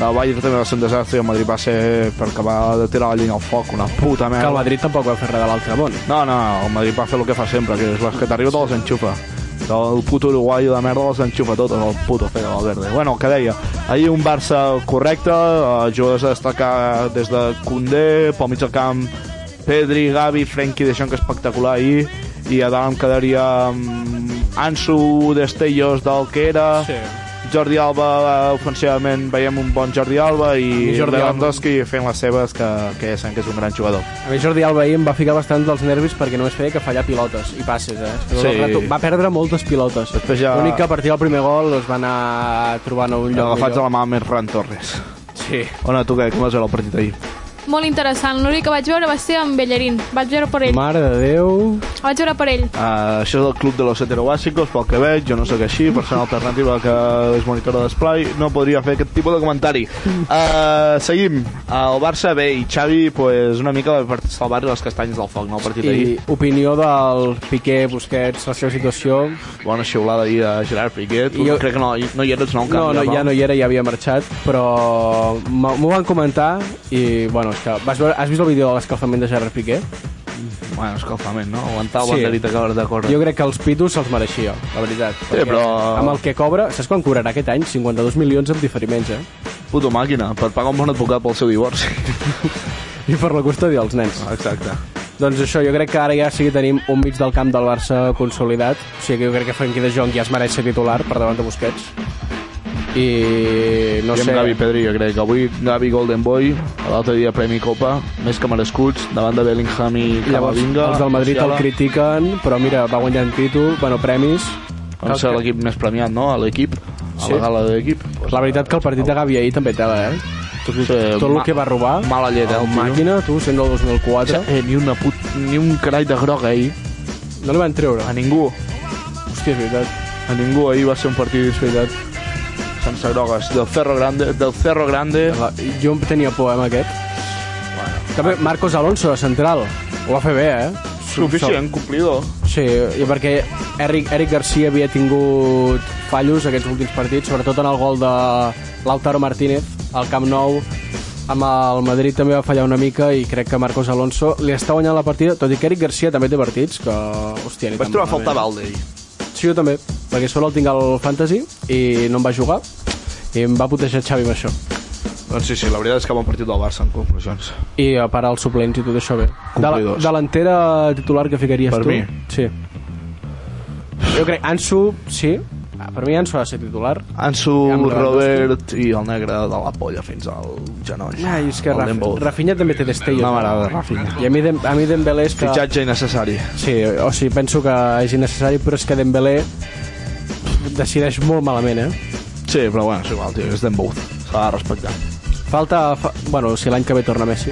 Speaker 7: el Bayern també va ser un desastre i el Madrid va ser per acabar de tirar la llenya al foc, una puta merda.
Speaker 9: Que el Madrid tampoc va fer res de l'altre món.
Speaker 7: No, no, el Madrid va fer el que fa sempre, que és les que t'arriba te les enxufa. El puto uruguai de merda les enxufa totes, el puto Fede Valverde. Bueno, el que deia, ahir un Barça correcte, eh, jugadors a destacar des de Koundé, pel mig del camp, Pedri, Gavi, Frenkie de Jong, que espectacular ahir, i a dalt em quedaria amb Ansu, Destellos del que era...
Speaker 9: Sí.
Speaker 7: Jordi Alba, eh, ofensivament, veiem un bon Jordi Alba i
Speaker 9: I Jordi Alba.
Speaker 7: Jordi Lewandowski fent les seves, que, que ja sabem que és un gran jugador.
Speaker 9: A mi Jordi Alba ahir em va ficar bastant dels nervis perquè només feia que fallar pilotes i passes, eh? Però
Speaker 7: Sí.
Speaker 9: el rato- Va perdre moltes pilotes.
Speaker 7: Després ja-
Speaker 9: L'únic que a partir del primer gol es va anar trobant a un lloc
Speaker 7: Agafats
Speaker 9: millor.
Speaker 7: de la mà amb Ferran Torres.
Speaker 9: Sí.
Speaker 7: Ona, tu què? Com vas veure el partit ahir?
Speaker 8: molt interessant. L'únic que vaig veure va ser amb Bellerín. Vaig veure per ell.
Speaker 9: Mare de Déu...
Speaker 8: Vaig veure per ell.
Speaker 7: Uh, això és el Club de los Heterobàsicos, pel que veig, jo no sóc així, persona alternativa que és monitora d'esplai, no podria fer aquest tipus de comentari.
Speaker 9: Mm.
Speaker 7: Uh, seguim. El Barça bé i Xavi, pues, una mica per salvar-li les castanyes del foc, no? El partit d'ahir.
Speaker 9: I opinió del Piqué, Busquets, la seva situació...
Speaker 7: Bona xiulada ahir a Gerard Piqué. Tu
Speaker 9: Jo-
Speaker 7: jo... crec que no, no hi eres, no? en
Speaker 9: No,
Speaker 7: canvi,
Speaker 9: no, ja no hi era, ja havia marxat, però m'ho- m'ho van comentar i, bueno, és que vas veure, has vist el vídeo de l'escalfament de Gerard Piqué?
Speaker 7: Bueno, escalfament, no? Aguantar el sí. banderit que acabes de córrer.
Speaker 9: Jo crec que els pitos se'ls mereixia, la veritat.
Speaker 7: Sí,
Speaker 9: perquè
Speaker 7: però-
Speaker 9: Amb el que cobra, saps quan cobrarà aquest any? 52 milions amb diferiments, eh?
Speaker 7: Puto màquina, per pagar un bon advocat pel seu divorci.
Speaker 9: I per la custòdia dels nens.
Speaker 7: Exacte.
Speaker 9: Doncs això, jo crec que ara ja sí que tenim un mig del camp del Barça consolidat, o sigui que jo crec que Frenkie de Jong ja es mereix ser titular per davant de Busquets. I no
Speaker 7: I amb
Speaker 9: sé...
Speaker 7: Gavi Pedri, jo crec. Avui Gavi Golden Boy, l'altre dia Premi Copa, més que merescuts, davant de Bellingham i
Speaker 9: I Llavors,
Speaker 7: Camavinga.
Speaker 9: els del Madrid el
Speaker 7: Musiala.
Speaker 9: critiquen, però mira, va guanyant títol, bueno, premis...
Speaker 7: Vam ser l'equip més premiat, no?, a l'equip, a la gala d'equip.
Speaker 9: La veritat que el partit de Gavi ahir també tela, eh? Tot, sí, tot el
Speaker 7: ma-
Speaker 9: que va robar...
Speaker 7: Mala llet, eh,
Speaker 9: el
Speaker 7: el tio.
Speaker 9: màquina, tu, sent del 2004...
Speaker 7: Eh, ni, una put, ni un carall de groc ahir.
Speaker 9: No li van treure.
Speaker 7: A ningú.
Speaker 9: Hòstia, és veritat.
Speaker 7: A ningú ahir va ser un partit, és veritat. Sense grogues. Del Cerro Grande. Del Cerro Grande.
Speaker 9: La, jo em tenia por, eh, amb aquest. També Marcos Alonso, de central. Ho va fer bé, eh?
Speaker 7: Suficient, complidor.
Speaker 9: Sí, i perquè Eric, Eric Garcia havia tingut fallos aquests últims partits, sobretot en el gol de Lautaro Martínez al Camp Nou amb el Madrid també va fallar una mica i crec que Marcos Alonso li està guanyant la partida, tot i que Eric Garcia també té partits que, hòstia, ni
Speaker 7: Vaig
Speaker 9: tan
Speaker 7: trobar a
Speaker 9: malament.
Speaker 7: faltar Valde ahir.
Speaker 9: Sí, jo també, perquè solo el tinc al Fantasy i no em va jugar i em va putejar Xavi amb això.
Speaker 7: Doncs sí, sí, la veritat és que bon partit del Barça, en conclusions.
Speaker 9: I a part els suplents i tot això bé. De la,
Speaker 7: Complidors.
Speaker 9: delantera titular que ficaries
Speaker 7: Per
Speaker 9: tu?
Speaker 7: mi?
Speaker 9: Sí. Jo crec, Ansu, sí. Ah, Per mi Ansu ha de ser titular.
Speaker 7: Ansu,
Speaker 9: Amb
Speaker 7: Robert i el negre de la polla fins al genoll.
Speaker 9: Ai, és que
Speaker 7: El
Speaker 9: Raf,
Speaker 7: Dembow.
Speaker 9: Rafinha també té destellos. eh?
Speaker 7: Una m'agrada, Rafinha.
Speaker 9: I a mi, Dem- a mi Dembélé és que...
Speaker 7: Fitxatge innecessari.
Speaker 9: Sí, o sigui, penso que és innecessari, però és que Dembélé decideix molt malament, eh?
Speaker 7: Sí, però bueno, és igual, tio, és Dembow. S'ha de respectar.
Speaker 9: Falta... Fa... Bueno, si l'any que ve torna Messi.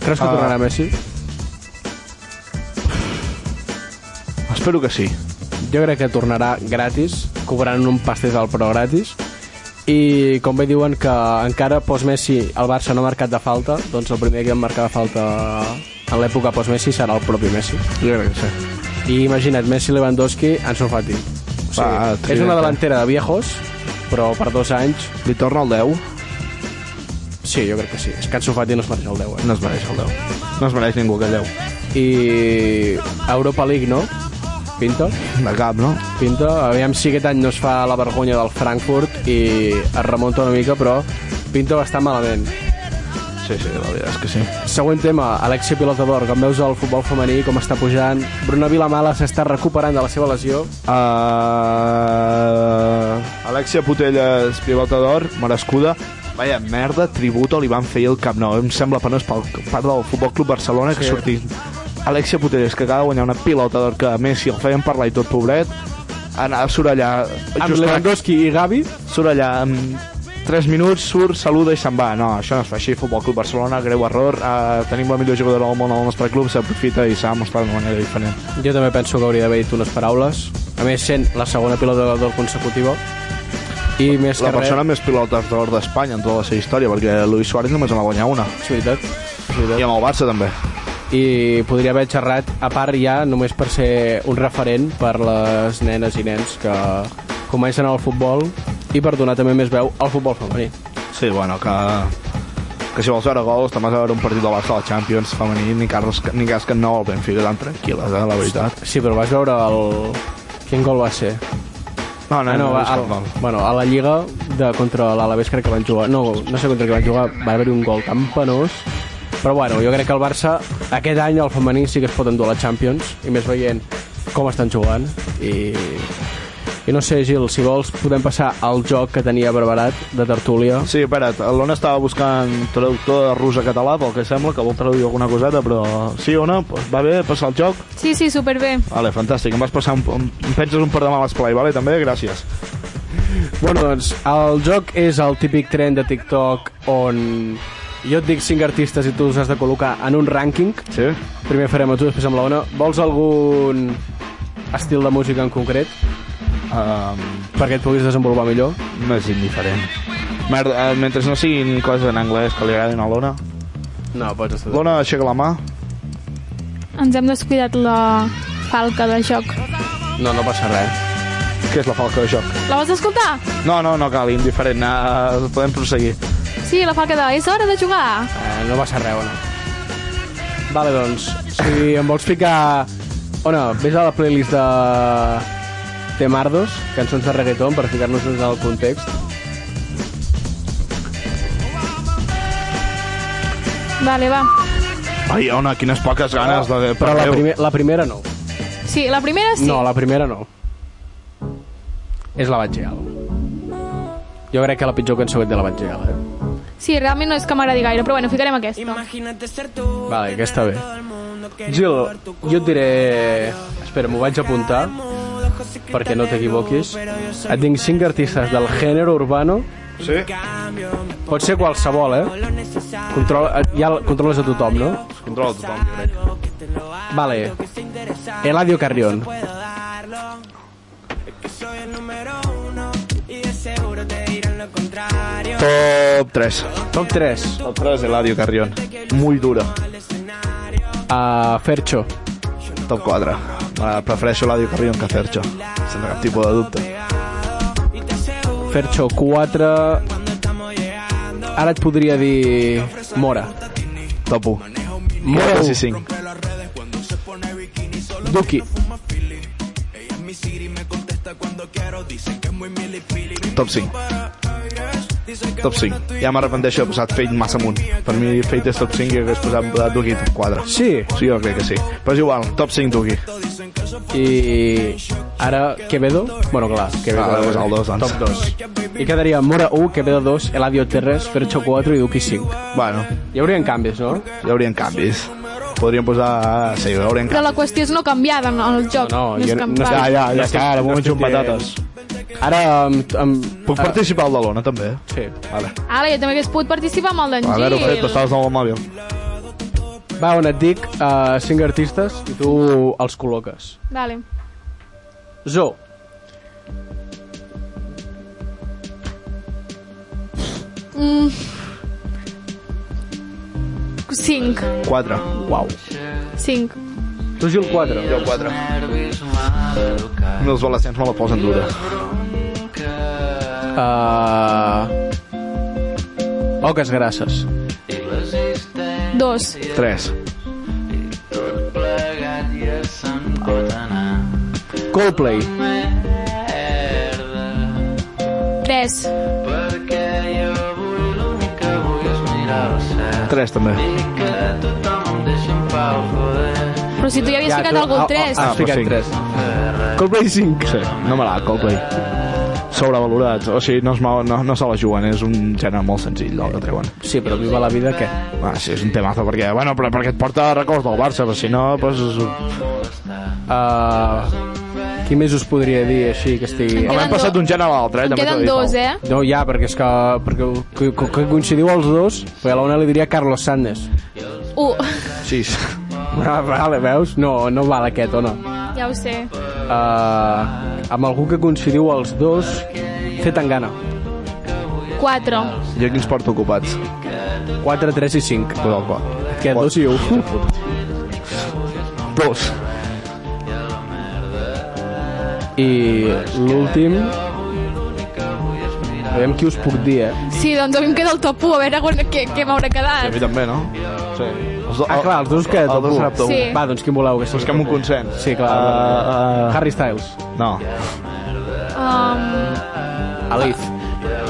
Speaker 9: Creus que
Speaker 7: Ah.
Speaker 9: tornarà Messi?
Speaker 7: Espero que sí.
Speaker 9: Jo crec que tornarà gratis, cobrant un pastís al però gratis. I com bé diuen que encara post-Messi el Barça no ha marcat de falta, doncs el primer que en marcarà falta en l'època post-Messi serà el propi Messi.
Speaker 7: Jo crec que sí.
Speaker 9: I imagina't, Messi, Lewandowski, Ansu Fati. O sigui,
Speaker 7: Va, tridente.
Speaker 9: és una delantera de viejos, però per dos anys...
Speaker 7: Li torna el 10?
Speaker 9: Sí, jo crec que sí. És que Ansu Fati no es mereix el 10, eh?
Speaker 7: No es mereix el 10. No es mereix ningú aquell 10.
Speaker 9: I Europa League, no? Pinta?
Speaker 7: De cap, no?
Speaker 9: Pinta. Aviam si aquest any no es fa la vergonya del Frankfurt i es remunta una mica, però pinta bastant malament.
Speaker 7: Sí, sí, la veritat és que sí.
Speaker 9: Següent tema, Alexia Pilotador, com veus el futbol femení, com està pujant. Bruna Vilamala s'està recuperant de la seva lesió.
Speaker 7: Uh, Alexia Putelles, pivota d'or, merescuda. Vaya merda, tributo li van fer ahir al Camp Nou. Em sembla penós pel part del Futbol Club Barcelona que
Speaker 9: Sí.
Speaker 7: sortís Alexia Putelles, que acaba de guanyar una pilota d'or que a Messi el feien parlar i tot pobret, anar a sorellar...
Speaker 9: Amb Lewandowski i Gavi?
Speaker 7: Sorellar amb 3 minuts, surt, saluda i se'n va. No, això no es fa així. Futbol Club Barcelona, greu error. Uh, tenim la millor jugadora del món al nostre club, s'aprofita i s'ha mostrat d'una manera diferent.
Speaker 9: Jo també penso que hauria d'haver dit unes paraules. A més, sent la segona pilota d'or consecutiva. I més
Speaker 7: la
Speaker 9: que
Speaker 7: persona amb més pilotes d'or d'Espanya en tota la seva història, perquè Luis Suárez només en va guanyar una.
Speaker 9: És veritat.
Speaker 7: I amb el Barça també.
Speaker 9: i podria haver xerrat a part ja només per ser un referent per les nenes i nens que comencen al futbol i per donar també més veu al futbol femení.
Speaker 7: Sí, bueno, que... Que si vols veure gols, te'n vas a veure un partit del Barça de la Champions femení, ni, Carles, ni cas que no el Benfica tan tranquil·les, eh, la veritat.
Speaker 9: Sí, però vas veure el... Quin gol va ser?
Speaker 7: No, no,
Speaker 9: ah, no,
Speaker 7: no,
Speaker 9: va,
Speaker 7: no, no,
Speaker 9: a, bueno, a la Lliga de, contra l'Alavés crec que van jugar no, no sé contra qui van jugar, va haver-hi un gol tan penós però bueno, jo crec que el Barça aquest any el femení sí que es pot endur a la Champions i més veient com estan jugant i, i no sé Gil, si vols podem passar al joc que tenia preparat de tertúlia
Speaker 7: Sí, espera't, l'Ona estava buscant traductor de rus a català, pel que sembla, que vol traduir alguna coseta, però sí, Ona, pues, va bé passar el joc?
Speaker 8: Sí, sí, superbé.
Speaker 7: Vale, fantàstic, em vas passar un, em, em penses un par de mal esplai, vale, també? Gràcies.
Speaker 9: Bueno, doncs, el joc és el típic tren de TikTok on Jo et dic cinc artistes i tu els has de col·locar en un rànquing.
Speaker 7: Sí.
Speaker 9: Primer farem a tu, després amb la Ona. Vols algun estil de música en concret?
Speaker 7: Um,
Speaker 9: perquè et puguis desenvolupar millor?
Speaker 7: M'és indiferent. Merda, eh, mentre no siguin coses en anglès que li agradin a l'Ona.
Speaker 9: No, pots estar...
Speaker 7: L'Ona, aixeca la mà.
Speaker 8: Ens hem descuidat la falca de joc.
Speaker 9: No, no passa res.
Speaker 7: Què és la falca de joc?
Speaker 8: La vols escoltar?
Speaker 7: No, no, no cal, indiferent. Uh, podem proseguir.
Speaker 8: Sí, la falca de... És hora de jugar!
Speaker 9: Eh, no passa res, Ona. Vale, doncs, si em vols ficar... Ona, vés a la playlist de Temardos, cançons de reggaeton, per ficar-nos en el context.
Speaker 8: Vale, va.
Speaker 7: Ai, Ona, quines poques ganes. De...
Speaker 9: Però la, primer, la primera no.
Speaker 8: Sí, la primera sí.
Speaker 9: No, la primera no. És la Batgeal. Jo crec que la pitjor cançó de la Batgeal, eh?
Speaker 8: Sí, realment no és que m'agradi gaire, però bueno, ficarem aquesta.
Speaker 9: Vale, aquesta bé. Gil, jo et diré... Espera, m'ho vaig apuntar perquè no t'equivoquis. Et tinc cinc artistes del gènere urbano.
Speaker 7: Sí?
Speaker 9: Pot ser qualsevol, eh? Controla, ja el- controles a tothom, no?
Speaker 7: Es controla tothom, jo crec.
Speaker 9: Vale. Eladio Carrión.
Speaker 7: Top 3.
Speaker 9: Top 3.
Speaker 7: Top 3 de Ladio Carrión. Muy dura.
Speaker 9: A Ah, Fercho.
Speaker 7: Top 4. Uh, prefereixo Ladio Carrión que Fercho. Sense cap tipus de dubte.
Speaker 9: Fercho 4... Ara et podria dir... Mora.
Speaker 7: Top 1.
Speaker 9: Mora
Speaker 7: Sí,
Speaker 9: 1.
Speaker 7: sí.
Speaker 9: Duki.
Speaker 7: Top 5. Top 5. Ja m'arrepenteixo de posar Fate massa amunt. Per mi Fate és top 5 i hagués posat eh, Duki top 4.
Speaker 9: Sí?
Speaker 7: Sí, jo crec que sí. Però és igual, top 5 Duki.
Speaker 9: I ara Quevedo, bueno clar, Quevedo
Speaker 7: Ah, doncs el dos, doncs.
Speaker 9: top 2. I quedaria Mora 1, Quevedo 2, Eladio 3, Fercho 4 i Duki 5.
Speaker 7: Bueno.
Speaker 9: Hi haurien canvis, no?
Speaker 7: Hi haurien canvis. Podríem posar... Sí, hi haurien
Speaker 8: Però
Speaker 7: canvis.
Speaker 8: la qüestió és no canviar en el joc.
Speaker 9: No,
Speaker 8: és
Speaker 9: jo no- Ah,
Speaker 8: canviar.
Speaker 7: Ja, ja,
Speaker 9: No
Speaker 7: ja
Speaker 9: estic-
Speaker 7: està, ara m'ho
Speaker 9: no
Speaker 7: menjo amb
Speaker 9: estic dient-
Speaker 7: patates.
Speaker 9: Ara... Amb, amb,
Speaker 7: Puc participar al de l'Ona, també?
Speaker 9: Sí.
Speaker 7: Vale.
Speaker 8: Ara, jo també hagués pogut participar amb el d'en
Speaker 7: A
Speaker 8: Gil.
Speaker 7: veure, ho fet, estaves amb el mòbil.
Speaker 9: Va, on et dic uh, 5 artistes i tu els col·loques.
Speaker 8: Vale.
Speaker 9: Zo.
Speaker 8: Mm. 5.
Speaker 7: 4.
Speaker 9: Uau.
Speaker 8: 5.
Speaker 9: Tu, Gil, 4.
Speaker 7: Jo, 4. No, els valencians me la posen dura.
Speaker 9: Uh... Oques grasses.
Speaker 8: 2.
Speaker 7: 3.
Speaker 9: Coldplay.
Speaker 8: 3.
Speaker 7: 3, també.
Speaker 8: Però si tu ja havies
Speaker 7: Ja,
Speaker 8: ficat
Speaker 7: tu-
Speaker 8: algun
Speaker 7: ah,
Speaker 8: 3.
Speaker 7: ah, ah, però sí.
Speaker 9: 3.
Speaker 7: Coldplay 5. Sí, no m'agrada Coldplay. Sobrevalorats. O sigui, no, es, mo- no, no se la juguen, és un gènere molt senzill el que treuen.
Speaker 9: Sí, però viva la vida, què?
Speaker 7: Ah, sí, és un temazo, perquè, bueno, però, perquè et porta records del Barça, però si no, doncs...
Speaker 9: Uh, qui més us podria dir així que estigui...
Speaker 8: Em Home, hem queden passat dos.
Speaker 7: d'un gènere a l'altre,
Speaker 8: Em queden dos, eh?
Speaker 9: No, ja, perquè és que, perquè que, que, que coincidiu els dos, però a la una li diria Carlos Sandes.
Speaker 8: 1.
Speaker 7: Sí.
Speaker 9: Ah, vale, veus? No, no val aquest, o no?
Speaker 8: Ja ho sé.
Speaker 9: Uh, amb algú que coincidiu els dos, fer tan gana.
Speaker 8: 4.
Speaker 7: Jo quins porto ocupats?
Speaker 9: 4, 3 i 5.
Speaker 7: Pues el qual.
Speaker 9: Que dos i un.
Speaker 7: Dos.
Speaker 9: I l'últim... Aviam qui us puc dir, eh?
Speaker 8: Sí, doncs a mi em queda el top 1, a veure quan- què, què m'haurà
Speaker 7: A
Speaker 8: quedat.
Speaker 7: mi també, no? Sí. Els do,
Speaker 9: Ah, clar, els dos que
Speaker 7: El dos serà
Speaker 9: top
Speaker 7: top
Speaker 9: 1.
Speaker 8: Sí.
Speaker 9: Va, doncs quin voleu? Que sigui
Speaker 7: Busquem un
Speaker 9: top u?
Speaker 7: consens.
Speaker 9: Sí, clar.
Speaker 7: Ah, ah.
Speaker 9: Harry Styles.
Speaker 7: No.
Speaker 8: Um,
Speaker 9: Alif.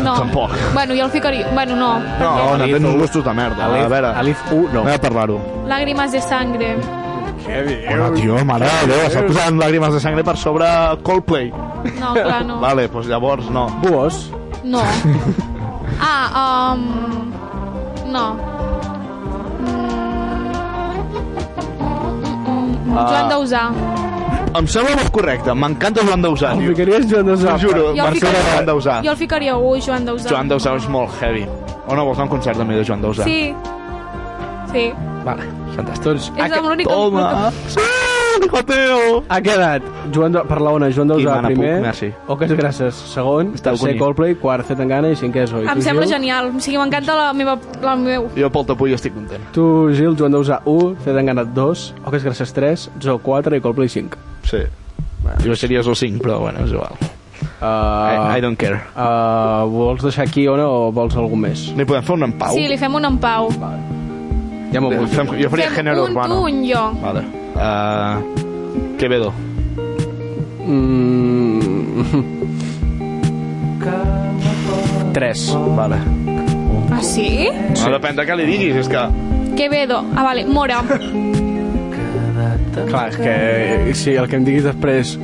Speaker 8: no.
Speaker 7: Tampoc.
Speaker 8: Bueno, jo el ficaria... Bueno, no.
Speaker 7: No,
Speaker 8: perquè-
Speaker 7: no, tens uns gustos de merda. A
Speaker 9: Alif,
Speaker 7: veure,
Speaker 9: Alif 1, no.
Speaker 7: anem a parlar-ho.
Speaker 8: Lágrimas de sangre.
Speaker 7: Home, tio, mare de Déu, està posant llàgrimes de sangre per sobre Coldplay.
Speaker 8: No, clar, no.
Speaker 7: Vale, doncs llavors no.
Speaker 9: Buos.
Speaker 8: No. Ah, um... No. Mm,
Speaker 7: Ah.
Speaker 8: Joan Dausà.
Speaker 7: Em sembla molt correcte, m'encanta Joan Dausà,
Speaker 9: El
Speaker 7: tio.
Speaker 9: ficaries Joan
Speaker 7: T'ho
Speaker 9: Dausà.
Speaker 7: juro,
Speaker 8: Jo el
Speaker 7: m'encanta
Speaker 8: ficaria-
Speaker 7: Joan Dausà.
Speaker 8: Jo el ficaria 1, Joan Dausà.
Speaker 7: Joan Dausà és molt heavy. O no, vols anar a un concert també de Joan Dosa?
Speaker 8: Sí. Sí.
Speaker 7: Vale, fantàstic. Doncs,
Speaker 8: És amb l'únic...
Speaker 7: Toma! Joteo!
Speaker 9: Ha quedat Joan Do... per la ona, Joan
Speaker 7: I
Speaker 9: Dosa
Speaker 7: Mana
Speaker 9: primer,
Speaker 7: Puc, merci.
Speaker 9: Oques Grasses segon, tercer
Speaker 7: Cunyi.
Speaker 9: Coldplay, quart Zetangana i cinquè Zoe.
Speaker 8: Em
Speaker 9: Tu,
Speaker 8: sembla
Speaker 9: Gil?
Speaker 8: genial. O sigui, m'encanta la meva... La meu.
Speaker 7: Jo pel tapull estic content.
Speaker 9: Tu, Gil, Joan Dosa 1, Zetangana 2, Oques Grasses 3, Zoe 4 i Coldplay 5.
Speaker 7: Sí. Jo series el 5, però bueno, és igual.
Speaker 9: Uh,
Speaker 7: I, I don't care.
Speaker 9: Uh, vols deixar aquí Ona o vols algun més?
Speaker 7: N'hi podem fer un en
Speaker 8: Sí, li fem un en pau. Vale.
Speaker 9: Ja m'ho vull.
Speaker 7: Fem, jo faria
Speaker 8: Fem
Speaker 7: género
Speaker 8: un,
Speaker 7: urbano.
Speaker 8: tu, un, jo.
Speaker 7: Vale. Uh, Quevedo.
Speaker 9: Mm... 3.
Speaker 7: Vale.
Speaker 8: Ah, sí?
Speaker 7: Sí. No depèn de què li diguis, és que...
Speaker 8: Quevedo. Ah, vale, Mora.
Speaker 9: Clar, és que sí, el que em diguis després...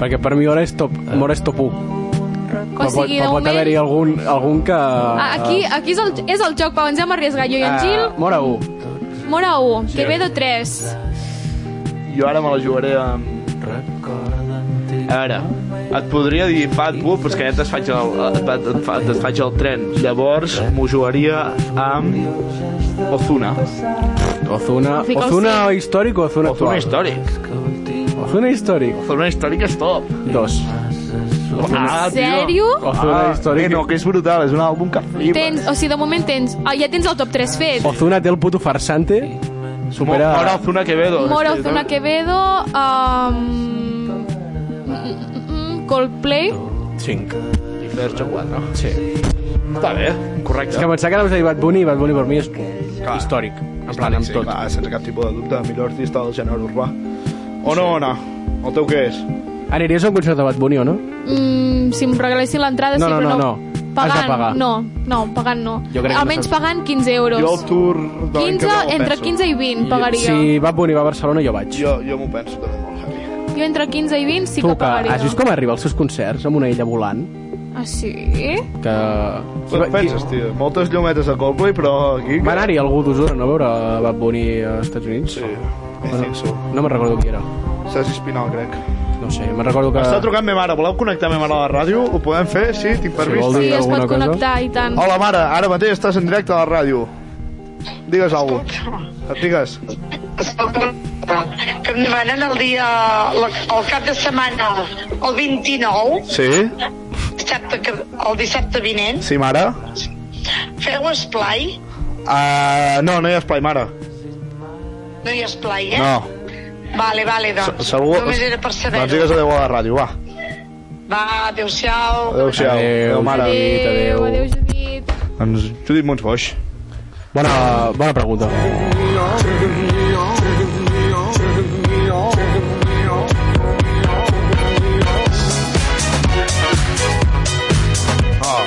Speaker 9: Perquè per mi Mora és top, Mora és top 1.
Speaker 8: Eh. O sigui, de
Speaker 9: però pot
Speaker 8: moment...
Speaker 9: haver-hi algun, algun que...
Speaker 8: Ah, Aquí, aquí és el, és el joc, Pau, ens hem arriesgat. Jo i en Gil,
Speaker 9: Uh, Mora 1.
Speaker 8: Mora 1,
Speaker 7: Sí.
Speaker 8: Quevedo 3.
Speaker 7: Jo ara me la jugaré amb... A veure, et podria dir Fatwood, però és que ja et faig el, et, et, et, fa- et faig el tren. Llavors m'ho jugaria amb Ozuna.
Speaker 9: Ozuna,
Speaker 7: Fica el
Speaker 9: Ozuna
Speaker 7: cinc.
Speaker 9: històric o Ozuna
Speaker 7: Ozuna
Speaker 9: actual?
Speaker 7: històric.
Speaker 9: Ozuna històric.
Speaker 7: Ozuna històric és top.
Speaker 9: Dos.
Speaker 7: Ah, tio.
Speaker 8: Sèrio?
Speaker 9: Ozuna
Speaker 7: ah,
Speaker 9: històric.
Speaker 7: eh, no, que és brutal, és un àlbum que flipa.
Speaker 8: Tens, o sigui, de moment tens... Ah, ja tens el top 3 fet.
Speaker 9: Ozuna té el puto farsante. Supera...
Speaker 7: Mora Ozuna Quevedo.
Speaker 8: Mora, Ozuna, Quevedo... Um, Coldplay.
Speaker 9: 5.
Speaker 7: I Fercho 4.
Speaker 9: Sí.
Speaker 7: Està bé, correcte.
Speaker 9: És que pensava que anaves a dir Bad Bunny i Bad Bunny per mi és històric. En plan, amb
Speaker 7: sí,
Speaker 9: tot.
Speaker 7: clar, sense cap tipus de dubte, millor artista del gènere urbà. O no, Ona? El teu què és?
Speaker 9: Aniries a un concert de Bad Bunny o no?
Speaker 8: Mm, si em regalessin l'entrada,
Speaker 9: No,
Speaker 8: sí,
Speaker 9: no,
Speaker 8: però
Speaker 9: no,
Speaker 8: no.
Speaker 9: no.
Speaker 8: Pagant,
Speaker 9: Has de pagar.
Speaker 8: no, no, pagant no.
Speaker 9: Jo crec que
Speaker 8: Almenys
Speaker 9: no saps.
Speaker 8: pagant 15 euros.
Speaker 7: Jo el tour... de l'any que ve
Speaker 8: 15,
Speaker 7: me'l
Speaker 8: entre
Speaker 7: penso.
Speaker 8: 15 i 20 pagaria.
Speaker 9: Si Bad Bunny va a Barcelona, jo vaig.
Speaker 7: Jo, jo m'ho penso també molt heavy.
Speaker 8: Jo entre 15 i 20 sí
Speaker 9: tu,
Speaker 8: que pagaria.
Speaker 9: has vist com arriba als seus concerts amb una ella volant?
Speaker 8: Ah, sí?
Speaker 9: Que...
Speaker 7: Però et penses, tio, moltes llumetes a Coldplay, però aquí...
Speaker 9: Va anar-hi algú d'Osona, no? A veure Bad Bunny als Estats Units? Sí,
Speaker 7: penso.
Speaker 9: No me'n recordo qui era.
Speaker 7: Sergi Espinal, crec. Ah.
Speaker 9: No sé, me'n recordo que...
Speaker 7: Està trucant me mare, voleu connectar me mare a la ràdio? Ho podem fer? Sí, tinc permís.
Speaker 9: vol dir Sí, es alguna pot cosa?
Speaker 8: connectar, i tant.
Speaker 7: Hola, mare, ara mateix estàs en directe a la ràdio. Digues alguna cosa. Digues.
Speaker 15: que em demanen el dia, la, el cap de setmana, el 29,
Speaker 7: Sí?
Speaker 15: dissabte, que- el dissabte vinent,
Speaker 7: Sí, mare?
Speaker 15: feu esplai,
Speaker 7: Uh, no, no hi ha espai, mare.
Speaker 15: no hi ha esplai, eh?
Speaker 7: No.
Speaker 15: Vale, vale, doncs,
Speaker 7: Se- segur-
Speaker 15: només era per saber-ho.
Speaker 7: Doncs digues adeu a la ràdio, va.
Speaker 15: Va, adeu-siau.
Speaker 7: Adéu-siau. Adéu, mare.
Speaker 8: Adéu, adéu, Judit.
Speaker 7: Doncs Judit Montsboix.
Speaker 9: Bona, bona pregunta.
Speaker 10: Oh.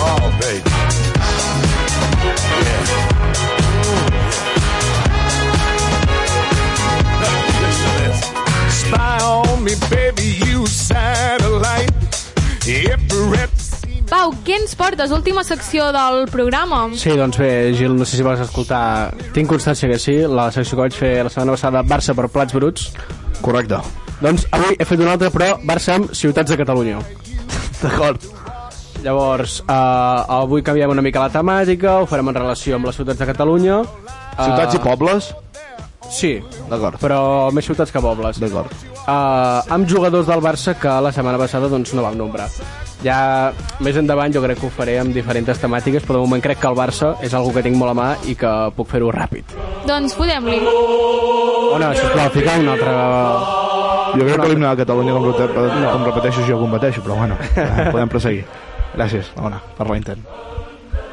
Speaker 10: Oh, baby. Yeah. Spy on me, baby, you satellite. Every rep
Speaker 8: Pau, què ens portes? Última secció del programa.
Speaker 9: Sí, doncs bé, Gil, no sé si vas escoltar... Tinc constància que sí, la secció que vaig fer la setmana passada, Barça per plats bruts.
Speaker 7: Correcte.
Speaker 9: Doncs avui he fet una altra, però Barça amb ciutats de Catalunya.
Speaker 7: D'acord.
Speaker 9: Llavors, eh, avui canviem una mica la temàtica, ho farem en relació amb les ciutats de Catalunya. Eh,
Speaker 7: Ciutats i pobles?
Speaker 9: Sí.
Speaker 7: D'acord.
Speaker 9: Però més ciutats que pobles.
Speaker 7: D'acord.
Speaker 9: Eh, amb jugadors del Barça que la setmana passada doncs, no vam nombrar. Ja més endavant jo crec que ho faré amb diferents temàtiques, però de moment crec que el Barça és algo que tinc molt a mà i que puc fer-ho ràpid.
Speaker 8: Doncs podem-li.
Speaker 9: Ona, sisplau, fica una altra...
Speaker 7: Jo crec que l'himne de Catalunya, com, repete- com repeteixo, jo combateixo, però bueno, eh, podem proseguir. Gràcies, Ona, per l'intent.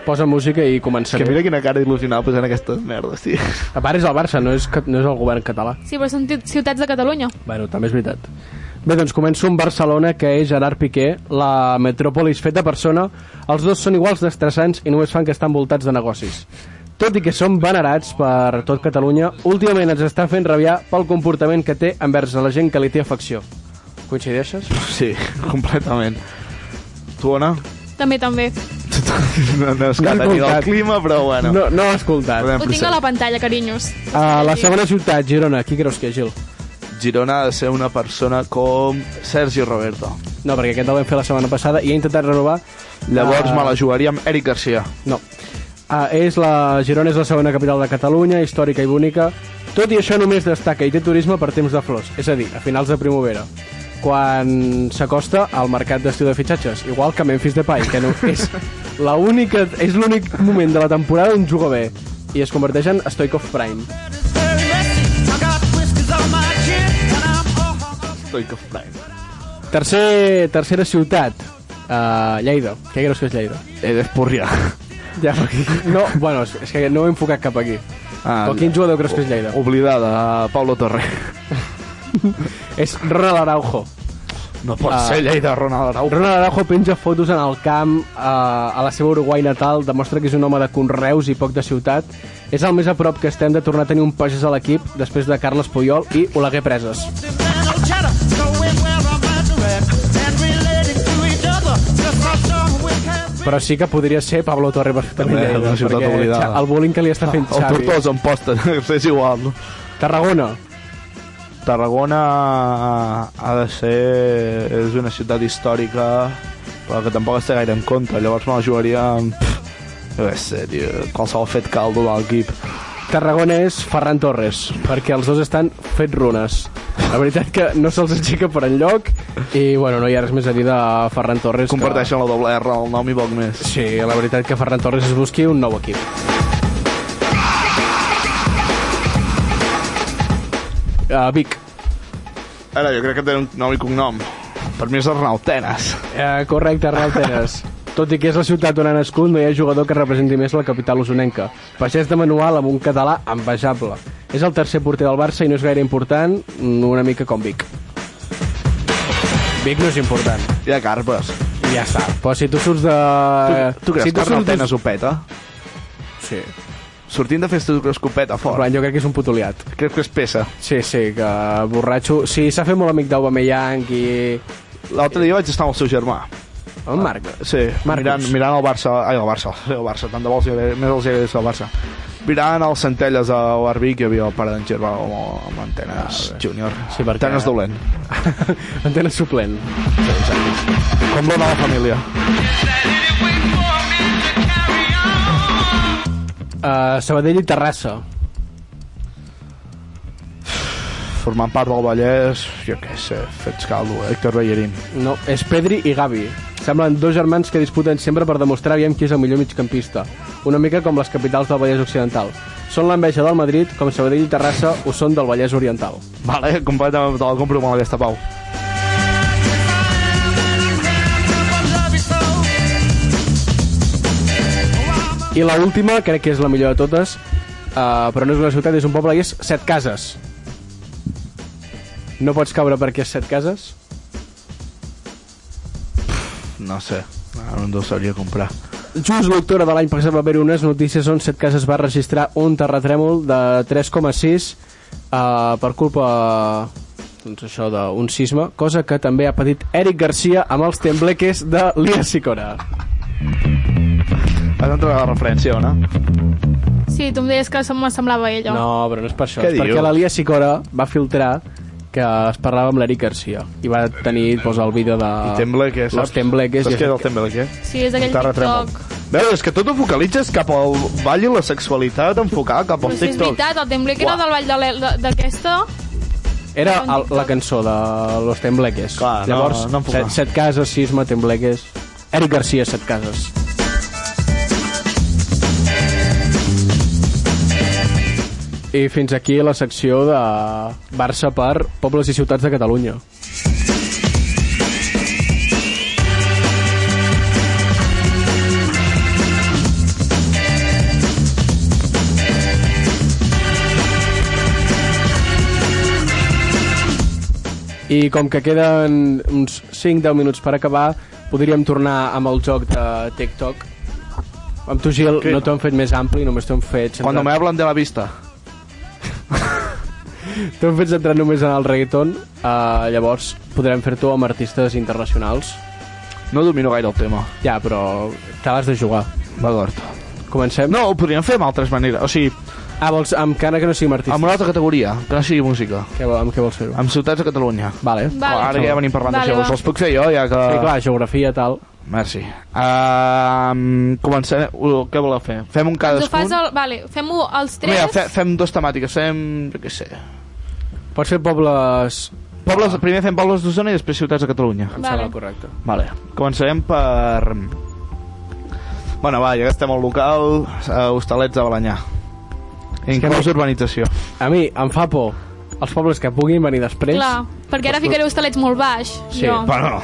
Speaker 9: Posa música i
Speaker 7: És
Speaker 9: començaré.
Speaker 7: que mira quina cara il·lusionada posant aquestes merdes, tio.
Speaker 9: A part és el Barça, no és, ca- no és el govern català.
Speaker 8: Sí, però són ti- ciutats de Catalunya.
Speaker 9: Bueno, també és veritat. Bé, doncs començo amb Barcelona, que és Gerard Piqué, la metròpolis feta persona. Els dos són iguals d'estressants i només fan que estan voltats de negocis. Tot i que són venerats per tot Catalunya, últimament ens estan fent rabiar pel comportament que té envers la gent que li té afecció. Coincideixes?
Speaker 7: Sí, completament. Tu, Ona?
Speaker 8: També, també.
Speaker 7: No, no és
Speaker 9: No
Speaker 7: que
Speaker 9: he
Speaker 7: tenir el
Speaker 9: escoltat.
Speaker 7: clima, però bueno.
Speaker 9: No, no he escoltat.
Speaker 7: Podem
Speaker 8: Ho tinc a la pantalla, carinyos.
Speaker 9: A la segona ciutat, Girona, qui creus que és, Gil?
Speaker 7: Girona ha de ser una persona com Sergi Roberto.
Speaker 9: No, perquè aquest el vam fer la setmana passada i he intentat renovar...
Speaker 7: Llavors
Speaker 9: eh,
Speaker 7: me la jugaria amb Eric Garcia.
Speaker 9: No. Ah, és la, Girona és la segona capital de Catalunya, històrica i bonica. Tot i això només destaca i té turisme per temps de flors, és a dir, a finals de primavera quan s'acosta al mercat d'estiu de fitxatges, igual que Memphis Depay, que no, és la única, és l'únic moment de la temporada on juga bé i es converteix en Stoikov Prime.
Speaker 7: Stoikov Prime.
Speaker 9: Tercer, tercera ciutat, uh, Lleida. Què creus que és Lleida?
Speaker 7: Eh, Espurrià.
Speaker 9: Ja, perquè... No, bueno, és, és que no he enfocat cap aquí. Ah, o quin jugador creus que és Lleida?
Speaker 7: Oblidada, Pablo Torre.
Speaker 9: és Ronald Araujo.
Speaker 7: No pot ser Lleida, Ronald Araujo.
Speaker 9: Ronald Araujo penja fotos en el camp, eh, a la seva Uruguai natal, demostra que és un home de conreus i poc de ciutat. És el més a prop que estem de tornar a tenir un pagès a l'equip després de Carles Puyol i Oleguer Preses. Però sí que podria ser Pablo Torre perfectament.
Speaker 7: També,
Speaker 9: Lleida,
Speaker 7: una ciutat
Speaker 9: perquè,
Speaker 7: oblidada.
Speaker 9: Xa- El bullying que li està fent
Speaker 7: El
Speaker 9: Xavi.
Speaker 7: Tortosa en posta, és igual. No?
Speaker 9: Tarragona.
Speaker 7: Tarragona ha de ser... És una ciutat històrica, però que tampoc està gaire en compte. Llavors me la jugaria amb... pff, Jo què sé, tio, qualsevol fet caldo de l'equip.
Speaker 9: Tarragona és Ferran Torres, perquè els dos estan fet runes. La veritat que no se'ls aixeca per enlloc i, bueno, no hi ha res més a dir de Ferran Torres.
Speaker 7: Comparteixen la doble R, el nom i poc més.
Speaker 9: Sí, la veritat que Ferran Torres es busqui un nou equip. Uh, Vic.
Speaker 7: Ara, jo crec que té un nom i cognom. Per mi és Arnau Tenes.
Speaker 9: Uh, correcte, Arnau Teres. Tot i que és la ciutat on ha nascut, no hi ha jugador que representi més la capital usonenca. Pagès de manual amb un català envejable. És el tercer porter del Barça i no és gaire important, una mica com Vic. Vic no és important.
Speaker 7: Hi ha carpes.
Speaker 9: I ja està. Però si tu surts de...
Speaker 7: Eh, Tu, tu creus
Speaker 9: si
Speaker 7: que Arnau Tenes ho peta?
Speaker 9: Sí.
Speaker 7: Sortint de festa, tu creus que ho peta fort?
Speaker 9: Plan, jo crec que és un putoleat.
Speaker 7: Crec que és peça.
Speaker 9: Sí, sí, que borratxo... Sí, s'ha fet molt amic d'Aubameyang i...
Speaker 7: L'altre dia vaig estar amb el seu germà.
Speaker 9: El Marc?
Speaker 7: Sí, mirant, mirant el Barça... Ai, el Barça, sí, el Barça, tant de bo els hi agradi- més els hi agradi el Barça. Mirant el Centelles a Barbic hi havia el pare d'en Germà amb, amb l'antenes júnior. Ah, Sí, perquè... Antenes dolent.
Speaker 9: Antena suplent.
Speaker 7: Com la nova família.
Speaker 9: Uh, Sabadell i Terrassa.
Speaker 7: Formant part del Vallès, jo què sé, fets caldo, eh? Héctor Bellerín.
Speaker 9: No, és Pedri i Gavi. Semblen dos germans que disputen sempre per demostrar aviam qui és el millor migcampista. Una mica com les capitals del Vallès Occidental. Són l'enveja del Madrid, com Sabadell i Terrassa ho són del Vallès Oriental.
Speaker 7: Vale, completament, te la compro molt aquesta, Pau.
Speaker 9: I la última, crec que és la millor de totes, uh, però no és una ciutat, és un poble i és set cases. No pots caure perquè és set cases?
Speaker 7: No sé, ara no ens hauria comprar.
Speaker 9: Just l'octubre de l'any passat va haver unes notícies on set cases va registrar un terratrèmol de 3,6 eh, per culpa doncs això d'un sisme, cosa que també ha patit Eric Garcia amb els tembleques de Lia Sicora.
Speaker 7: Has entrat a la referència, Ona?
Speaker 8: Sí, tu em deies que se m'assemblava a ella.
Speaker 9: No, però no és per això,
Speaker 7: Què
Speaker 9: és perquè
Speaker 7: dius?
Speaker 9: la Lia Sicora va filtrar que es parlava amb l'Eric Garcia i va tenir doncs, el vídeo de...
Speaker 7: I Tembleque, saps?
Speaker 9: Los tembleques.
Speaker 7: Saps
Speaker 9: i-
Speaker 7: què és el Tembleque?
Speaker 8: Sí, és aquell
Speaker 7: Terratrèmol.
Speaker 8: TikTok.
Speaker 7: Veus, és que tot ho focalitzes cap al ball i la sexualitat enfocar cap
Speaker 8: Però
Speaker 7: al
Speaker 8: si és
Speaker 7: TikTok.
Speaker 8: veritat, el Tembleque era
Speaker 7: Uah.
Speaker 8: del Vall de l'El- de- d'aquesta...
Speaker 9: Era el, la cançó de Los Tembleques. Clar,
Speaker 7: no,
Speaker 9: Llavors,
Speaker 7: no em puc
Speaker 9: set,
Speaker 7: anar.
Speaker 9: set cases, sisme, Tembleques... Eric Garcia, set cases. I fins aquí la secció de Barça per pobles i ciutats de Catalunya. I com que queden uns 5-10 minuts per acabar, podríem tornar amb el joc de TikTok. Amb tu, Gil,
Speaker 7: Què?
Speaker 9: no t'ho han fet més ampli, només t'ho han fet...
Speaker 7: Cuando me hablan de la vista.
Speaker 9: T'ho hem fet centrar només en el reggaeton, uh, llavors podrem fer-t'ho amb artistes internacionals.
Speaker 7: No domino gaire el tema.
Speaker 9: Ja, però te l'has de jugar.
Speaker 7: D'acord.
Speaker 9: Comencem?
Speaker 7: No, ho podríem fer amb altres maneres. O sigui,
Speaker 9: Ah, vols, amb Ah. cara que no sigui artista.
Speaker 7: Amb una altra categoria, que no sigui música.
Speaker 9: Què, vol- amb què vols fer-ho?
Speaker 7: Amb ciutats de Catalunya.
Speaker 9: Vale.
Speaker 7: vale. Ara que ja venim parlant vale, d'això, us els puc fer jo, ja que...
Speaker 9: Sí, clar, geografia, tal.
Speaker 7: Merci. Uh, comencem... Uh, què voleu fer? Fem un
Speaker 8: Ens Doncs ho fas...
Speaker 7: cadascun?
Speaker 8: El... Vale, fem-ho els tres.
Speaker 7: Mira, fe, fem dues temàtiques, fem... jo què sé...
Speaker 9: Pots fer pobles...
Speaker 7: pobles primer fem pobles d'Osona i després ciutats de Catalunya.
Speaker 9: Em sembla Vale. correcte.
Speaker 7: Vale. Començarem per... Bueno, va, ja que estem al local, uh, Hostalets de Balanyà. Inclús urbanització.
Speaker 9: A mi em fa por els pobles que puguin venir després.
Speaker 8: Clar, perquè ara ficaré hostalets molt baix.
Speaker 9: Doncs Sí,
Speaker 8: jo.
Speaker 9: però...